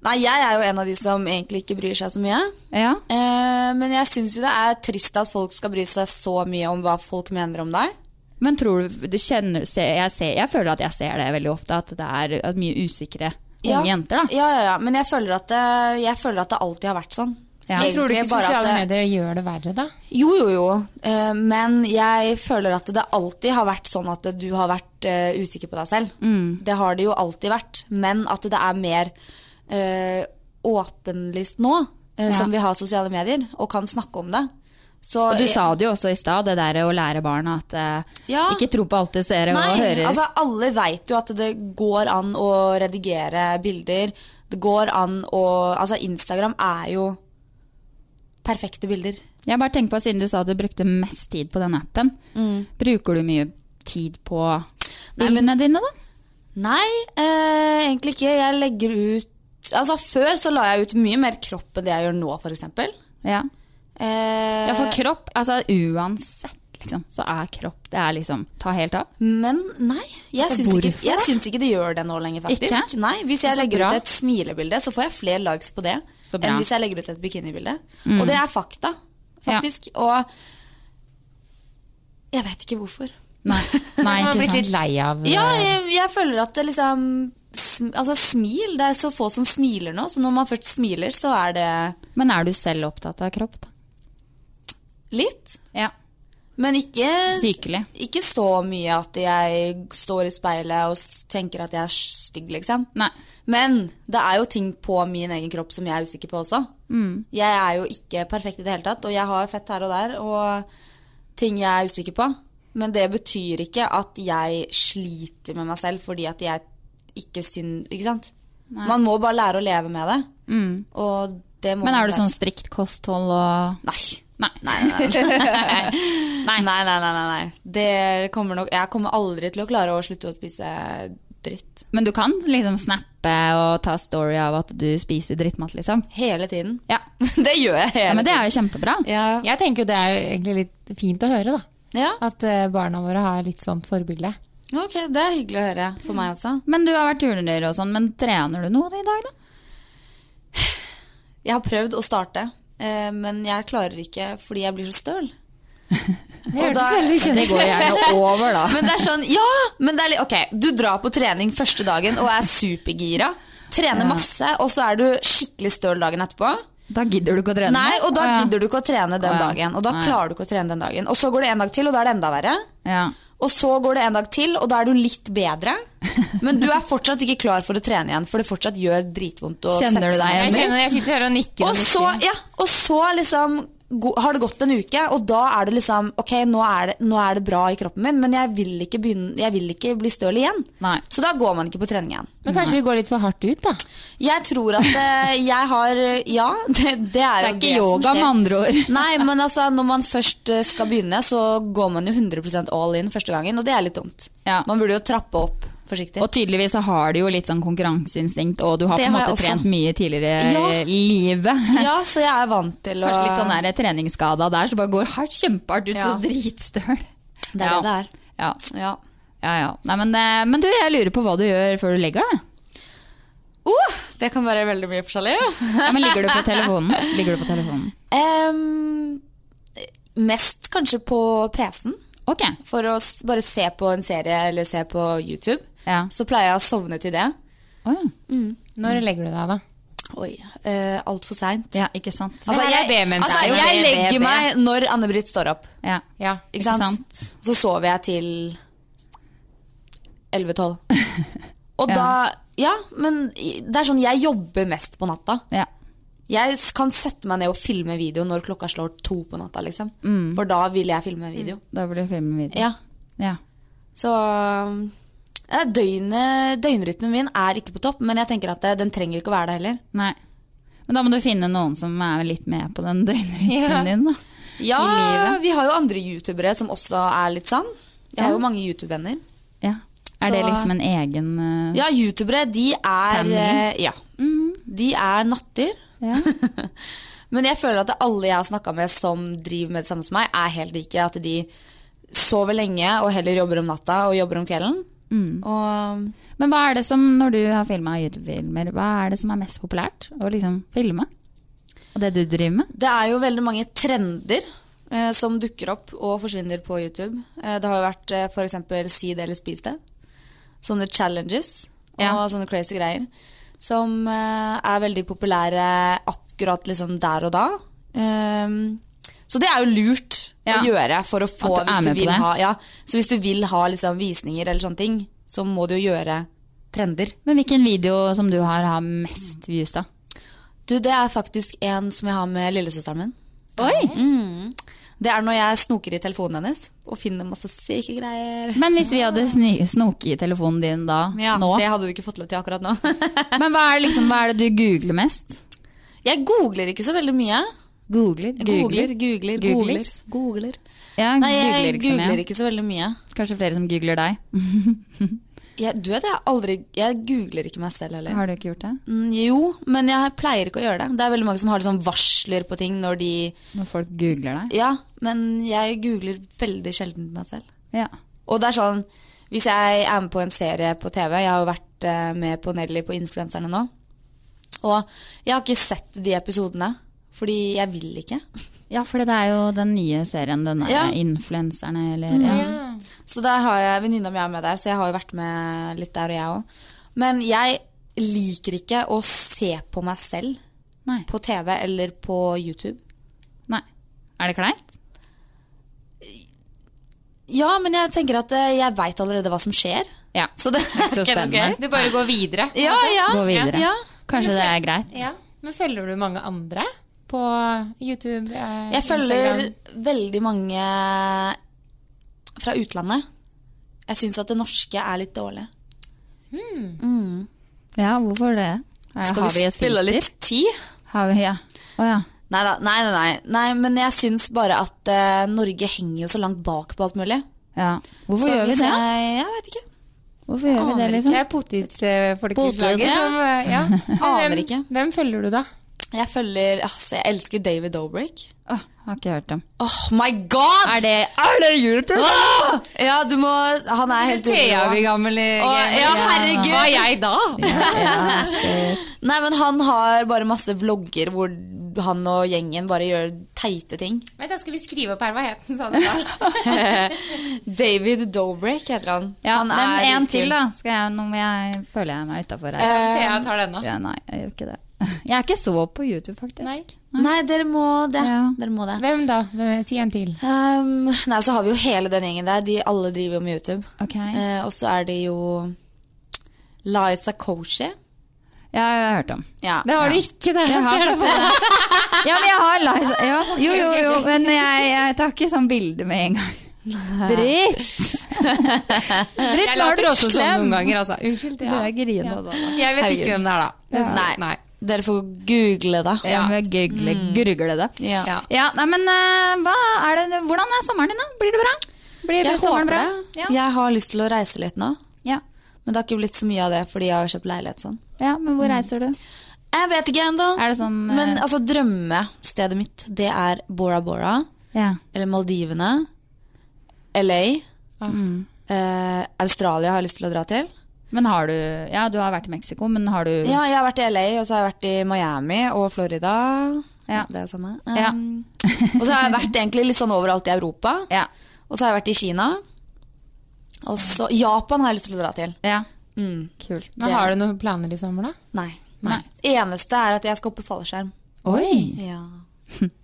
Speaker 4: Nei, jeg er jo en av de som egentlig ikke bryr seg så mye.
Speaker 1: Ja.
Speaker 4: Eh, men jeg syns jo det er trist at folk skal bry seg så mye om hva folk mener om deg.
Speaker 1: Men tror du, du kjenner, ser, jeg, ser, jeg føler at jeg ser det veldig ofte, at det er at mye usikre unge
Speaker 4: Ja.
Speaker 1: jenter. Da.
Speaker 4: Ja, ja, ja. Men jeg føler at det, jeg føler at det alltid har vært sånn.
Speaker 1: Ja.
Speaker 4: Egentlig
Speaker 2: Tror du ikke
Speaker 4: bare at
Speaker 2: sosiale
Speaker 4: det-
Speaker 2: medier gjør det verre, da?
Speaker 4: Jo, jo, jo. Eh, Men jeg føler at det alltid har vært sånn at du har vært eh, usikker på deg selv.
Speaker 1: Mm.
Speaker 4: Det har det jo alltid vært. Men at det er mer eh, åpenlyst nå, eh,
Speaker 1: Ja.
Speaker 4: som vi har sosiale medier, og kan snakke om det. Så
Speaker 1: Og du
Speaker 4: jeg-
Speaker 1: sa det jo også i stad, det der å lære barna at eh,
Speaker 4: Ja.
Speaker 1: ikke tro på alt du ser og hører.
Speaker 4: altså Alle vet jo at det går an å redigere bilder. Det går an å Altså, Instagram er jo perfekte bilder.
Speaker 1: Jeg bare tenker på, Siden du sa at du brukte mest tid på den appen, bruker du mye tid på bildene dine, da?
Speaker 4: Nei, eh, egentlig ikke. Jeg legger ut Altså, Før så la jeg ut mye mer kropp enn det jeg gjør nå, f.eks.
Speaker 1: Ja.
Speaker 4: Eh,
Speaker 1: ja, for kropp altså Uansett, liksom, så er kropp Det er liksom Ta helt av.
Speaker 4: men nei, jeg syns, ikke,
Speaker 1: Altså, hvorfor?
Speaker 4: jeg syns ikke det gjør det nå lenger, faktisk.
Speaker 1: Ikke?
Speaker 4: Nei, Hvis jeg
Speaker 1: Så
Speaker 4: legger
Speaker 1: bra.
Speaker 4: ut et smilebilde, så får jeg flere likes på det
Speaker 1: Så bra. Mm.
Speaker 4: enn hvis jeg legger ut et bikinibilde. Og det er fakta, faktisk. Og jeg vet ikke hvorfor.
Speaker 1: Nei, nei
Speaker 2: Man har
Speaker 1: ikke
Speaker 2: blitt
Speaker 1: sant.
Speaker 2: litt lei av
Speaker 4: Ja, jeg, jeg føler at det liksom sm- Altså, smil. Det er så få som smiler nå, så når man først smiler, så er det
Speaker 1: Men er du selv opptatt av kropp, da?
Speaker 4: litt.
Speaker 1: Ja.
Speaker 4: Men ikke,
Speaker 1: Sykelig.
Speaker 4: ikke så mye at jeg står i speilet og s- tenker at jeg er stygg, liksom.
Speaker 1: Nei.
Speaker 4: Men det er jo ting på min egen kropp som jeg er usikker på også.
Speaker 1: Mm.
Speaker 4: Jeg er jo ikke perfekt i det hele tatt, og jeg har fett her og der, og ting jeg er usikker på. Men det betyr ikke at jeg sliter med meg selv fordi at jeg ikke synd... Ikke sant? Man må bare lære å leve med det. Og det må
Speaker 1: Mm. Men
Speaker 4: man
Speaker 1: er du
Speaker 4: lære.
Speaker 1: sånn strikt kosthold og
Speaker 4: Nei.
Speaker 1: Nei.
Speaker 4: Nei, nei, nei. nei, nei, nei, nei, nei. Det kommer nok, jeg kommer aldri til å klare å slutte å spise dritt.
Speaker 1: Men du kan liksom snappe og ta story av at du spiser drittmat, liksom?
Speaker 4: Hele tiden.
Speaker 1: Ja.
Speaker 4: det gjør jeg hele
Speaker 1: Ja, men det er jo kjempebra.
Speaker 2: Jeg tenker jo det er jo egentlig litt fint å høre, da.
Speaker 4: Ja.
Speaker 2: At eh, barna våre har litt sånt forbilde.
Speaker 4: Ok, Det er hyggelig å høre. For meg også.
Speaker 1: Men du har vært turner og sånn, men trener du noe i dag, da?
Speaker 4: Jeg har prøvd å starte, eh, men jeg klarer ikke fordi jeg blir så støl.
Speaker 2: Det
Speaker 4: Og da-
Speaker 2: hørtes veldig kjent
Speaker 1: Det går gjerne over, da.
Speaker 4: Men det er sånn, ja, men det er litt, ok, du drar på trening første dagen og er supergira, trener masse, og så er du skikkelig støl dagen etterpå.
Speaker 1: Da gidder du ikke å trene?
Speaker 4: Nei, og da
Speaker 1: Å, ja.
Speaker 4: gidder du ikke å trene den
Speaker 1: Å, ja.
Speaker 4: dagen, og da
Speaker 1: Nei.
Speaker 4: klarer du ikke å trene den dagen. Og så går det en dag til, og da er det enda verre.
Speaker 1: ja.
Speaker 4: Og så går det en dag til, og da er du litt bedre. Men du er fortsatt ikke klar for å trene igjen, for det fortsatt gjør dritvondt å
Speaker 1: Kjenner
Speaker 4: sette
Speaker 1: du
Speaker 4: seg
Speaker 1: deg
Speaker 4: ned.
Speaker 2: Jeg kjenner jeg sitter her og nikker og
Speaker 4: Og så,
Speaker 2: nikker.
Speaker 4: ja, og så liksom go- har det gått en uke, og da er du liksom Ok, nå er det, nå er det bra i kroppen min, men jeg vil ikke, begynne, jeg vil ikke bli støl igjen.
Speaker 1: Nei.
Speaker 4: Så da går man ikke på trening
Speaker 1: Mm.
Speaker 4: igjen.
Speaker 2: Men kanskje vi går litt for hardt ut, da.
Speaker 4: Jeg tror at eh, jeg har Ja, det, det er
Speaker 1: Det
Speaker 4: jo
Speaker 1: er
Speaker 4: det
Speaker 1: ikke
Speaker 4: som
Speaker 1: yoga,
Speaker 4: skjer.
Speaker 1: med andre ord.
Speaker 4: Nei, men altså, når man først eh, skal begynne, så går man jo 100 all in første gangen, og det er litt dumt.
Speaker 1: Ja.
Speaker 4: Man burde jo trappe opp forsiktig.
Speaker 1: Og tydeligvis så har du jo litt sånn konkurranseinstinkt, og du har
Speaker 4: Det
Speaker 1: på en
Speaker 4: har
Speaker 1: måte
Speaker 4: jeg også.
Speaker 1: trent mye tidligere
Speaker 4: Ja.
Speaker 1: i livet.
Speaker 4: ja, så jeg er vant til å
Speaker 1: Kanskje litt sånn der treningsskada der, så bare går hardt, kjempehardt ut,
Speaker 4: Ja.
Speaker 1: så dritstøl.
Speaker 4: Det er
Speaker 1: ja.
Speaker 4: det det er.
Speaker 1: Ja.
Speaker 4: Ja.
Speaker 1: ja, ja. Nei, men, eh, men du, jeg lurer på hva du gjør før du legger deg.
Speaker 4: Uh, det kan være veldig mye forskjellig.
Speaker 1: Ja, men ligger du på telefonen? Ligger du på telefonen?
Speaker 4: Ehm, mest kanskje på PC-en.
Speaker 1: Ok.
Speaker 4: For å s- bare se på en serie eller se på YouTube.
Speaker 1: Ja.
Speaker 4: Så pleier jeg å sovne til det.
Speaker 1: Å, ja.
Speaker 4: Mm.
Speaker 2: Når legger du deg, da?
Speaker 4: Oi, eh, altfor seint.
Speaker 1: ja, ikke sant.
Speaker 4: Altså,
Speaker 2: Det er
Speaker 4: jeg,
Speaker 2: B-mens,
Speaker 4: altså,
Speaker 2: det er jo
Speaker 4: jeg
Speaker 2: det, det,
Speaker 4: legger
Speaker 2: det.
Speaker 4: meg når Anne-Britt står opp.
Speaker 1: ja.
Speaker 2: Ja.
Speaker 4: Ikke sant? Så sover jeg til 11-12. Og
Speaker 1: Ja.
Speaker 4: da Ja, men i- det er sånn jeg jobber mest på natta.
Speaker 1: Ja.
Speaker 4: Jeg s- kan sette meg ned og filme video når klokka slår to på natta. liksom For da vil jeg filme video.
Speaker 1: Da blir filmen videre.
Speaker 4: Ja
Speaker 1: Ja.
Speaker 4: Så eh, døgnet, døgnrytmen min er ikke på topp, men jeg tenker at det, den trenger ikke å være det heller.
Speaker 1: Nei. Men da må du finne noen som er litt med på den døgnrytmen din, da.
Speaker 4: Ja,
Speaker 1: livet.
Speaker 4: Vi har jo andre youtubere som også er litt sånn. Jeg har jo mange youtube-venner.
Speaker 1: Ja. Er det
Speaker 4: Så-
Speaker 1: liksom en egen eh,
Speaker 4: Ja, youtubere, de er eh, Ja. De er natter. men jeg føler at alle jeg har snakka med som driver med det samme som meg, er helt like. At de sover lenge og heller jobber om natta og jobber om kvelden. Og
Speaker 1: Men hva er det som, når du har filma YouTube-filmer, hva er det som er mest populært å liksom filme? Og det du driver med?
Speaker 4: Det er jo veldig mange trender eh, som dukker opp og forsvinner på YouTube. Eh, det har jo vært eh, for f.eks. si det eller spis det. Sånne challenges og
Speaker 1: Ja.
Speaker 4: sånne crazy greier. Som eh, er veldig populære akkurat liksom der og da. Ehm, så det er jo lurt
Speaker 1: Ja.
Speaker 4: å gjøre for å få
Speaker 1: At du er
Speaker 4: hvis
Speaker 1: med
Speaker 4: du
Speaker 1: på
Speaker 4: vil
Speaker 1: det.
Speaker 4: ha, ja, Så hvis du vil ha liksom, visninger eller sånne ting, så må du jo gjøre trender.
Speaker 1: Men hvilken video som du har, har mest views, da?
Speaker 4: Du, det er faktisk en som jeg har med lillesøsteren min. Mm.
Speaker 1: Oi!
Speaker 4: Det er når jeg snoker i telefonen hennes og finner masse syke greier.
Speaker 1: Men hvis vi hadde sni- snoket i telefonen din da,
Speaker 4: Ja,
Speaker 1: nå
Speaker 4: Det hadde du ikke fått lov til akkurat nå.
Speaker 1: Men hva er, det liksom, hva er det du googler mest?
Speaker 4: jeg googler ikke så veldig mye.
Speaker 1: Googler?
Speaker 4: Jeg Googler, googler, googler.
Speaker 1: Googles?
Speaker 4: googler.
Speaker 1: Ja,
Speaker 4: Nei, jeg
Speaker 1: googler,
Speaker 4: googler,
Speaker 1: liksom, ja.
Speaker 4: ikke så veldig mye.
Speaker 1: Kanskje flere som googler deg.
Speaker 4: Jeg, du vet, jeg, har aldri, jeg googler ikke meg selv heller.
Speaker 1: Har du ikke gjort det?
Speaker 4: Mm, jo, men jeg pleier ikke å gjøre det. Det er veldig mange som har liksom varsler på ting når de
Speaker 1: Når folk googler deg?
Speaker 4: Ja, men jeg googler veldig sjelden meg selv.
Speaker 1: Ja.
Speaker 4: Og det er sånn, hvis jeg er med på en serie på TV, jeg har jo vært eh, med på Nelly på Influenserne nå, og jeg har ikke sett de episodene, fordi jeg vil ikke.
Speaker 1: ja, for det er jo den nye serien, den der
Speaker 4: Ja.
Speaker 1: influenserne eller ja.
Speaker 4: Så der har jeg venninna mi er med der, så jeg har jo vært med litt der og jeg òg. Men jeg liker ikke å se på meg selv
Speaker 1: Nei.
Speaker 4: på TV eller på YouTube.
Speaker 1: Nei. Er det kleint?
Speaker 4: Ja, men jeg tenker at eh, jeg veit allerede hva som skjer.
Speaker 1: Ja.
Speaker 4: Så det
Speaker 1: Ikke så
Speaker 4: er ikke noe
Speaker 1: spennende.
Speaker 4: gøy.
Speaker 2: Du bare går videre?
Speaker 4: Ja, ja.
Speaker 1: Gå videre.
Speaker 4: Ja.
Speaker 1: Kanskje det er greit?
Speaker 2: Ja. Men følger du mange andre på YouTube? eh,
Speaker 4: Jeg følger
Speaker 2: Instagram?
Speaker 4: veldig mange fra utlandet. Jeg syns at det norske er litt dårlig.
Speaker 1: Ja, hvorfor det? Er,
Speaker 4: Skal
Speaker 1: har
Speaker 4: vi,
Speaker 1: et
Speaker 4: spille
Speaker 1: filter?
Speaker 4: litt ti?
Speaker 1: Har vi, ja. Å ja.
Speaker 4: Nei da. Nei, nei, nei. nei, men jeg syns bare at eh, Norge henger jo så langt bak på alt mulig.
Speaker 1: ja. Hvorfor
Speaker 4: så
Speaker 1: gjør vi
Speaker 4: hvis
Speaker 1: det?
Speaker 4: Jeg, jeg vet ikke.
Speaker 5: Hvorfor gjør vi det, liksom?
Speaker 2: Det er potetfolkeslaget
Speaker 4: Potet, ja.
Speaker 2: som eh, ja. Men
Speaker 4: Aner
Speaker 2: hvem-
Speaker 4: ikke.
Speaker 2: Hvem følger du, da?
Speaker 4: Jeg følger Altså, jeg elsker David Dobrik.
Speaker 1: Har ikke hørt dem.
Speaker 4: Oh my god!
Speaker 1: Er det, er det YouTube?
Speaker 4: Ah! Ja, du må Han er helt
Speaker 2: Thea
Speaker 4: rå.
Speaker 2: blir gammel. eh,
Speaker 4: Å,
Speaker 2: gammel,
Speaker 4: ja, herregud.
Speaker 2: Hva er jeg da?
Speaker 4: Nei, men han har bare masse vlogger hvor han og gjengen bare gjør teite ting.
Speaker 2: Vent, da skal vi skrive opp her. Hva het den, sa du? da?
Speaker 4: David Dobrik heter han.
Speaker 1: Ja,
Speaker 4: han
Speaker 1: men
Speaker 4: litt
Speaker 1: en til,
Speaker 4: kul.
Speaker 1: da. Skal jeg, nå må jeg, føler jeg meg utafor her.
Speaker 4: Eh,
Speaker 2: Thea tar den, da.
Speaker 1: Ja, nei, jeg gjør ikke det. Jeg er ikke så på YouTube, faktisk.
Speaker 2: Nei.
Speaker 4: Nei, dere må det. Dere må det.
Speaker 2: Hvem da? Hvem- Si en til.
Speaker 4: Ehm, nei, så har vi jo hele den gjengen der. De alle driver jo med YouTube.
Speaker 1: Ok.
Speaker 4: Eh, og så er det jo Liza Koshy.
Speaker 1: Ja, jeg har hørt om.
Speaker 4: Ja.
Speaker 2: Det har du ikke, det.
Speaker 1: Jeg har fått det. Ja, men jeg har live ja. Jo, jo, jo, men jeg, jeg tar ikke sånn bilde med en gang. Britt! Britt,
Speaker 2: Jeg
Speaker 1: nå har
Speaker 2: later
Speaker 1: du
Speaker 2: også sånn
Speaker 1: klem!
Speaker 2: noen ganger, altså. Unnskyld.
Speaker 1: Du
Speaker 2: Thea.
Speaker 1: er grina, da.
Speaker 2: Jeg vet ikke
Speaker 4: Herregud.
Speaker 2: hvem det er, da. Det er
Speaker 4: Nei.
Speaker 2: sant. Nei.
Speaker 4: Dere får google det.
Speaker 1: Ja, med gurgle, gurgle det.
Speaker 4: Ja.
Speaker 2: Ja.
Speaker 1: Mm. Ja, nei, men eh, hva er det, hvordan er sommeren din, da? Blir det bra? Blir
Speaker 4: Jeg
Speaker 1: sommeren
Speaker 4: håper
Speaker 1: bra?
Speaker 4: det.
Speaker 1: Ja.
Speaker 4: Jeg har lyst til å reise litt nå.
Speaker 1: Ja.
Speaker 4: Men det har ikke blitt så mye av det fordi jeg har kjøpt leilighet sånn.
Speaker 1: ja, men hvor reiser du?
Speaker 4: Jeg vet ikke ennå.
Speaker 1: Er det sånn eh,
Speaker 4: Men altså, drømmestedet mitt, det er Bora Bora.
Speaker 1: ja.
Speaker 4: Eller Maldivene. LA.
Speaker 1: Ah.
Speaker 4: Eh, Australia har jeg lyst til å dra til.
Speaker 1: Mm. Men har du Ja, du har vært i Mexico, men har du
Speaker 4: Ja, jeg har vært i LA, og så har jeg vært i Miami og Florida.
Speaker 1: Ja.
Speaker 4: Det er det samme.
Speaker 1: Ja.
Speaker 4: Um, og så har jeg vært egentlig litt sånn overalt i Europa.
Speaker 1: Ja.
Speaker 4: Og så har jeg vært i Kina. Og så Japan har jeg lyst til å dra til.
Speaker 1: ja.
Speaker 4: Mm.
Speaker 1: Kult.
Speaker 2: Men har du noen planer i sommer, da?
Speaker 4: Nei.
Speaker 1: Nei.
Speaker 4: Eneste er at jeg skal opp på fallskjerm.
Speaker 1: Oi!
Speaker 4: Ja.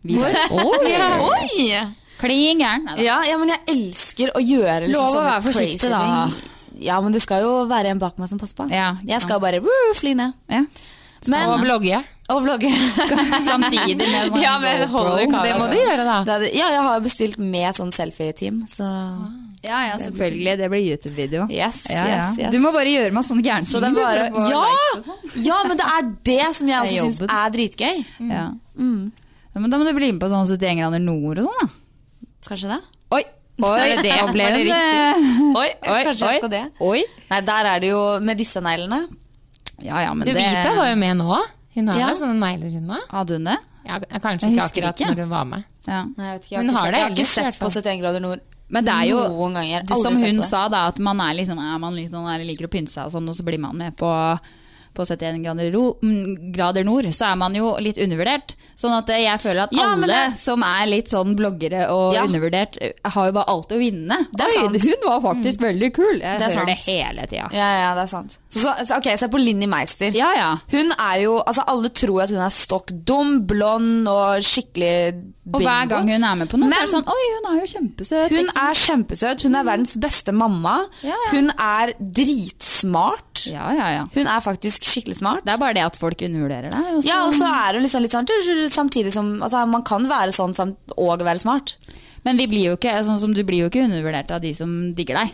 Speaker 1: Vi Oi.
Speaker 4: Oi!
Speaker 1: Klin gæren. Nei da.
Speaker 4: Ja, ja, men jeg elsker å gjøre liksom,
Speaker 1: Lov å
Speaker 4: sånne
Speaker 1: være forsiktig,
Speaker 4: crazy
Speaker 1: da.
Speaker 4: ting. Ja, men det skal jo være en bak meg som passer på.
Speaker 1: Ja, ikke
Speaker 4: jeg skal bare woo, fly ned.
Speaker 1: Ja.
Speaker 4: Men,
Speaker 2: Og blogge?
Speaker 4: og vlogge.
Speaker 1: Samtidig med sånn
Speaker 4: Ja, men
Speaker 1: GoPro.
Speaker 4: holder kamera,
Speaker 2: Det må du gjøre, da.
Speaker 4: Det er det- Ja, jeg har bestilt med sånn selfie-team, så
Speaker 1: Ah, Ja, ja, selvfølgelig. Det blir YouTube-video.
Speaker 4: Yes,
Speaker 1: Ja, ja.
Speaker 4: yes, yes.
Speaker 1: Du må bare gjøre meg sånne gærne
Speaker 4: Så det er bare ja! ja, men det er det som jeg også
Speaker 1: sånn? Det er
Speaker 4: syns
Speaker 1: jobben.
Speaker 4: er dritgøy.
Speaker 1: Ja. sånn.
Speaker 4: Mm.
Speaker 1: Ja, men da må du bli med på sånn 71 grader nord og sånn, da.
Speaker 4: Kanskje det?
Speaker 1: Oi! Oi,
Speaker 2: det det?
Speaker 1: da ble
Speaker 2: Var det
Speaker 1: det
Speaker 4: Oi,
Speaker 1: Oi,
Speaker 4: kanskje
Speaker 1: oi,
Speaker 4: jeg skal det.
Speaker 1: Oi.
Speaker 4: Nei, der er det jo med disse neglene.
Speaker 1: Ja, ja, men
Speaker 2: Du,
Speaker 1: det
Speaker 2: Vita var jo med nå. Hun har
Speaker 4: Ja.
Speaker 2: da sånne negler, hun da.
Speaker 1: Hadde hun det?
Speaker 2: Ja, k- kanskje
Speaker 1: Jeg
Speaker 2: ikke
Speaker 1: husker
Speaker 2: akkurat
Speaker 1: ikke.
Speaker 2: når hun var med.
Speaker 1: Ja.
Speaker 4: Nei, jeg, vet ikke, jeg
Speaker 2: Men
Speaker 4: har
Speaker 2: har
Speaker 4: ikke,
Speaker 2: det
Speaker 4: sett- jeg har ikke
Speaker 2: ellers, i
Speaker 4: sett
Speaker 2: hvert
Speaker 4: på
Speaker 2: fall.
Speaker 4: 71 grader nord
Speaker 1: Men det er jo
Speaker 4: noen ganger.
Speaker 1: Det som
Speaker 4: Aldri sett
Speaker 1: hun
Speaker 4: på det.
Speaker 1: sa, da, at man er, liksom, er man litt sånn der, liker å pynte seg, og, sånn, og så blir man med på, på 71 grader, ro, mm, grader nord, så er man jo litt undervurdert. Sånn at eh, jeg føler at
Speaker 4: Ja, men
Speaker 1: alle
Speaker 4: det-
Speaker 1: som er litt sånn bloggere og
Speaker 4: Ja.
Speaker 1: undervurdert, eh, har jo bare alt å vinne.
Speaker 4: Det er
Speaker 1: Oi,
Speaker 4: sant. Mm.
Speaker 1: hun var faktisk veldig kul! Jeg
Speaker 4: Det er
Speaker 1: hører
Speaker 4: sant.
Speaker 1: det hele tida.
Speaker 4: Ja, ja, det er sant. Så, så, ok, se på Linni Meister.
Speaker 1: Ja, ja.
Speaker 4: Hun er jo, altså Alle tror at hun er stokk dum, blond og skikkelig
Speaker 1: Og hver gang hun er med på noe,
Speaker 4: Men-
Speaker 1: så er det sånn Oi, hun er jo kjempesøt.
Speaker 4: Hun
Speaker 1: ikke sant?»
Speaker 4: er kjempesøt, hun er verdens beste mamma.
Speaker 1: Ja, ja.
Speaker 4: Hun er dritsmart.
Speaker 1: Ja, ja, ja.
Speaker 4: Hun er faktisk skikkelig smart.
Speaker 1: Det er sånn- bare det at folk undervurderer deg. og så-
Speaker 4: Ja, og så er hun liksom litt sånn samtidig som altså, Man kan være sånn samt, og være smart.
Speaker 1: Men vi blir jo ikke, sånn som du blir jo ikke undervurdert av de som digger deg.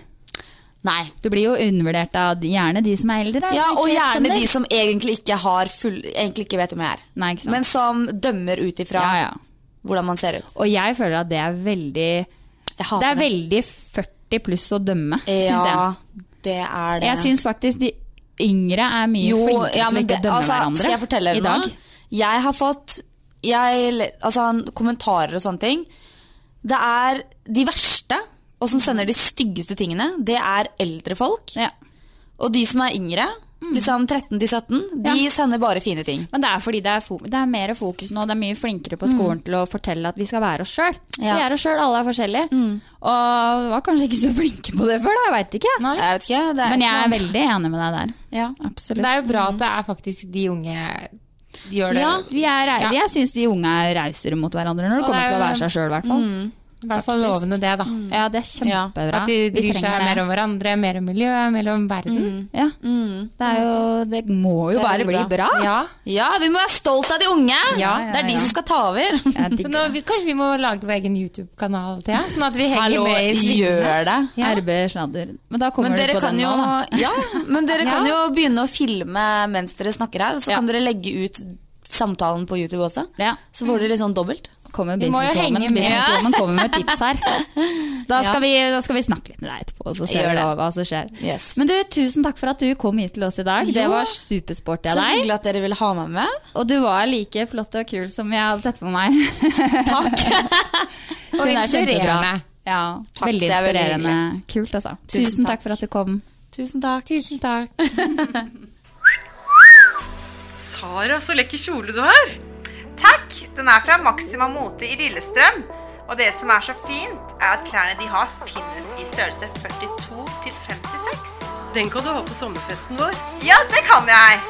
Speaker 4: Nei.
Speaker 1: Du blir jo undervurdert av de- gjerne de som er eldre. altså,
Speaker 4: Ja,
Speaker 1: som ikke
Speaker 4: Og
Speaker 1: vet
Speaker 4: gjerne
Speaker 1: om
Speaker 4: de
Speaker 1: det.
Speaker 4: som egentlig ikke, har full, egentlig ikke vet hvem jeg er.
Speaker 1: Nei, ikke sant.
Speaker 4: Men som dømmer ut ifra
Speaker 1: ja, ja.
Speaker 4: hvordan man ser ut.
Speaker 1: Og jeg føler at det er veldig
Speaker 4: Jeg
Speaker 1: Det
Speaker 4: hater
Speaker 1: er veldig 40 pluss å dømme, syns jeg.
Speaker 4: Ja, det er det.
Speaker 1: Jeg syns faktisk de yngre er mye
Speaker 4: Jo,
Speaker 1: flinkere
Speaker 4: ja,
Speaker 1: til
Speaker 4: men
Speaker 1: ikke
Speaker 4: det-
Speaker 1: å dømme
Speaker 4: altså,
Speaker 1: hverandre
Speaker 4: Skal jeg fortelle
Speaker 1: i
Speaker 4: dere
Speaker 1: dag.
Speaker 4: noe? Jeg har fått jeg, le- altså, kommentarer og sånne ting. Det er de verste, og som sender de styggeste tingene, det er eldre folk.
Speaker 1: Mhm. Ja. Mhm.
Speaker 4: Og de som er yngre, liksom 13 til 17, de sender bare fine ting.
Speaker 1: Men det er fordi det er, fo det er mer fokus nå, det er mye flinkere på skolen til å fortelle at vi skal være oss sjøl.
Speaker 4: Mm. Ja. Mm.
Speaker 1: Vi er oss sjøl, alle er forskjellige. Og vi var kanskje ikke så flinke på det før, da, jeg veit ikke.
Speaker 2: Nei.
Speaker 4: Jeg vet ikke, det er
Speaker 1: Men
Speaker 4: et
Speaker 1: jeg
Speaker 4: eller
Speaker 1: er
Speaker 4: annet.
Speaker 1: veldig enig med deg der.
Speaker 4: Ja.
Speaker 1: Absolutt.
Speaker 2: Eh, Det er jo bra at det er faktisk de unge de gjør det.
Speaker 1: Ja, vi er, rei-
Speaker 2: Mm. Ja.
Speaker 1: Jeg syns de unge er rausere mot hverandre når det
Speaker 2: Og
Speaker 1: kommer
Speaker 2: det er
Speaker 1: til å
Speaker 2: jo-
Speaker 1: være seg sjøl, i hvert fall.
Speaker 2: I hvert fall lovende det, da.
Speaker 1: Ja, det er kjempebra.
Speaker 2: Mm. At de
Speaker 1: Vi
Speaker 2: bryr seg
Speaker 1: trenger
Speaker 2: mer
Speaker 1: det.
Speaker 2: om hverandre, mer om miljøet, mer om verden.
Speaker 1: Ja.
Speaker 2: Mm.
Speaker 1: Det, er jo, det må jo
Speaker 4: Det er
Speaker 1: bare
Speaker 4: veldig
Speaker 1: bli bra.
Speaker 2: Ja.
Speaker 4: ja, vi må være stolt av de unge!
Speaker 1: Ja, ja,
Speaker 4: det er de
Speaker 1: ja.
Speaker 4: som skal ta over.
Speaker 1: Jeg
Speaker 2: Så
Speaker 1: digger
Speaker 2: nå,
Speaker 1: det.
Speaker 2: vi, kanskje vi må lage vår egen YouTube-kanal, Thea? Sånn at vi henger
Speaker 4: Hallo,
Speaker 2: med i svingene.
Speaker 4: gjør det.
Speaker 2: Ja.
Speaker 1: RB Sladder. Men
Speaker 4: Men
Speaker 1: da kommer du
Speaker 4: dere,
Speaker 1: på
Speaker 4: kan
Speaker 1: den
Speaker 4: jo,
Speaker 1: nå, da.
Speaker 4: ja, men dere kan jo
Speaker 2: Ja.
Speaker 4: begynne å filme mens dere snakker her, og så
Speaker 1: Ja.
Speaker 4: kan dere legge ut samtalen på YouTube også.
Speaker 1: Ja.
Speaker 4: Så får dere litt sånn dobbelt.
Speaker 1: Kommer
Speaker 2: Vi må jo
Speaker 1: businesswoman
Speaker 2: henge med.
Speaker 1: businesswoman kommer med tips her. Da skal,
Speaker 2: Ja.
Speaker 1: vi, da skal vi snakke litt med deg etterpå, og så ser
Speaker 4: Gjør
Speaker 1: vi
Speaker 4: det.
Speaker 1: hva, hva som skjer.
Speaker 4: Yes.
Speaker 1: Men du, tusen takk for at du kom hit til oss i dag. Det
Speaker 4: Jo.
Speaker 1: var supersporty
Speaker 4: Så
Speaker 1: av deg.
Speaker 4: hyggelig at dere ville ha meg med.
Speaker 1: Og du var like flott og kul som jeg hadde sett for meg. Takk.
Speaker 2: Og inspirerende.
Speaker 1: Ja,
Speaker 4: Takk,
Speaker 1: veldig
Speaker 4: det er veldig
Speaker 1: inspirerende. Kult, altså. Tusen,
Speaker 4: Tusen
Speaker 1: takk.
Speaker 4: takk.
Speaker 1: for at du kom.
Speaker 4: Tusen takk.
Speaker 2: Tusen takk.
Speaker 6: Sara, så lekker kjole du har!
Speaker 7: Takk! Den er fra Maxima Mote i Lillestrøm. Og det som er så fint, er at klærne de har, finnes i størrelse 42 til 56.
Speaker 6: Den kan du ha på sommerfesten vår.
Speaker 7: Ja, det kan jeg!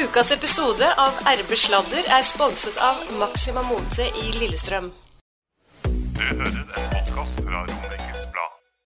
Speaker 3: Ukas episode av RB Sladder er sponset av Maxima Mote i Lillestrøm.
Speaker 8: Du hører en podkast fra Romerikes Blad.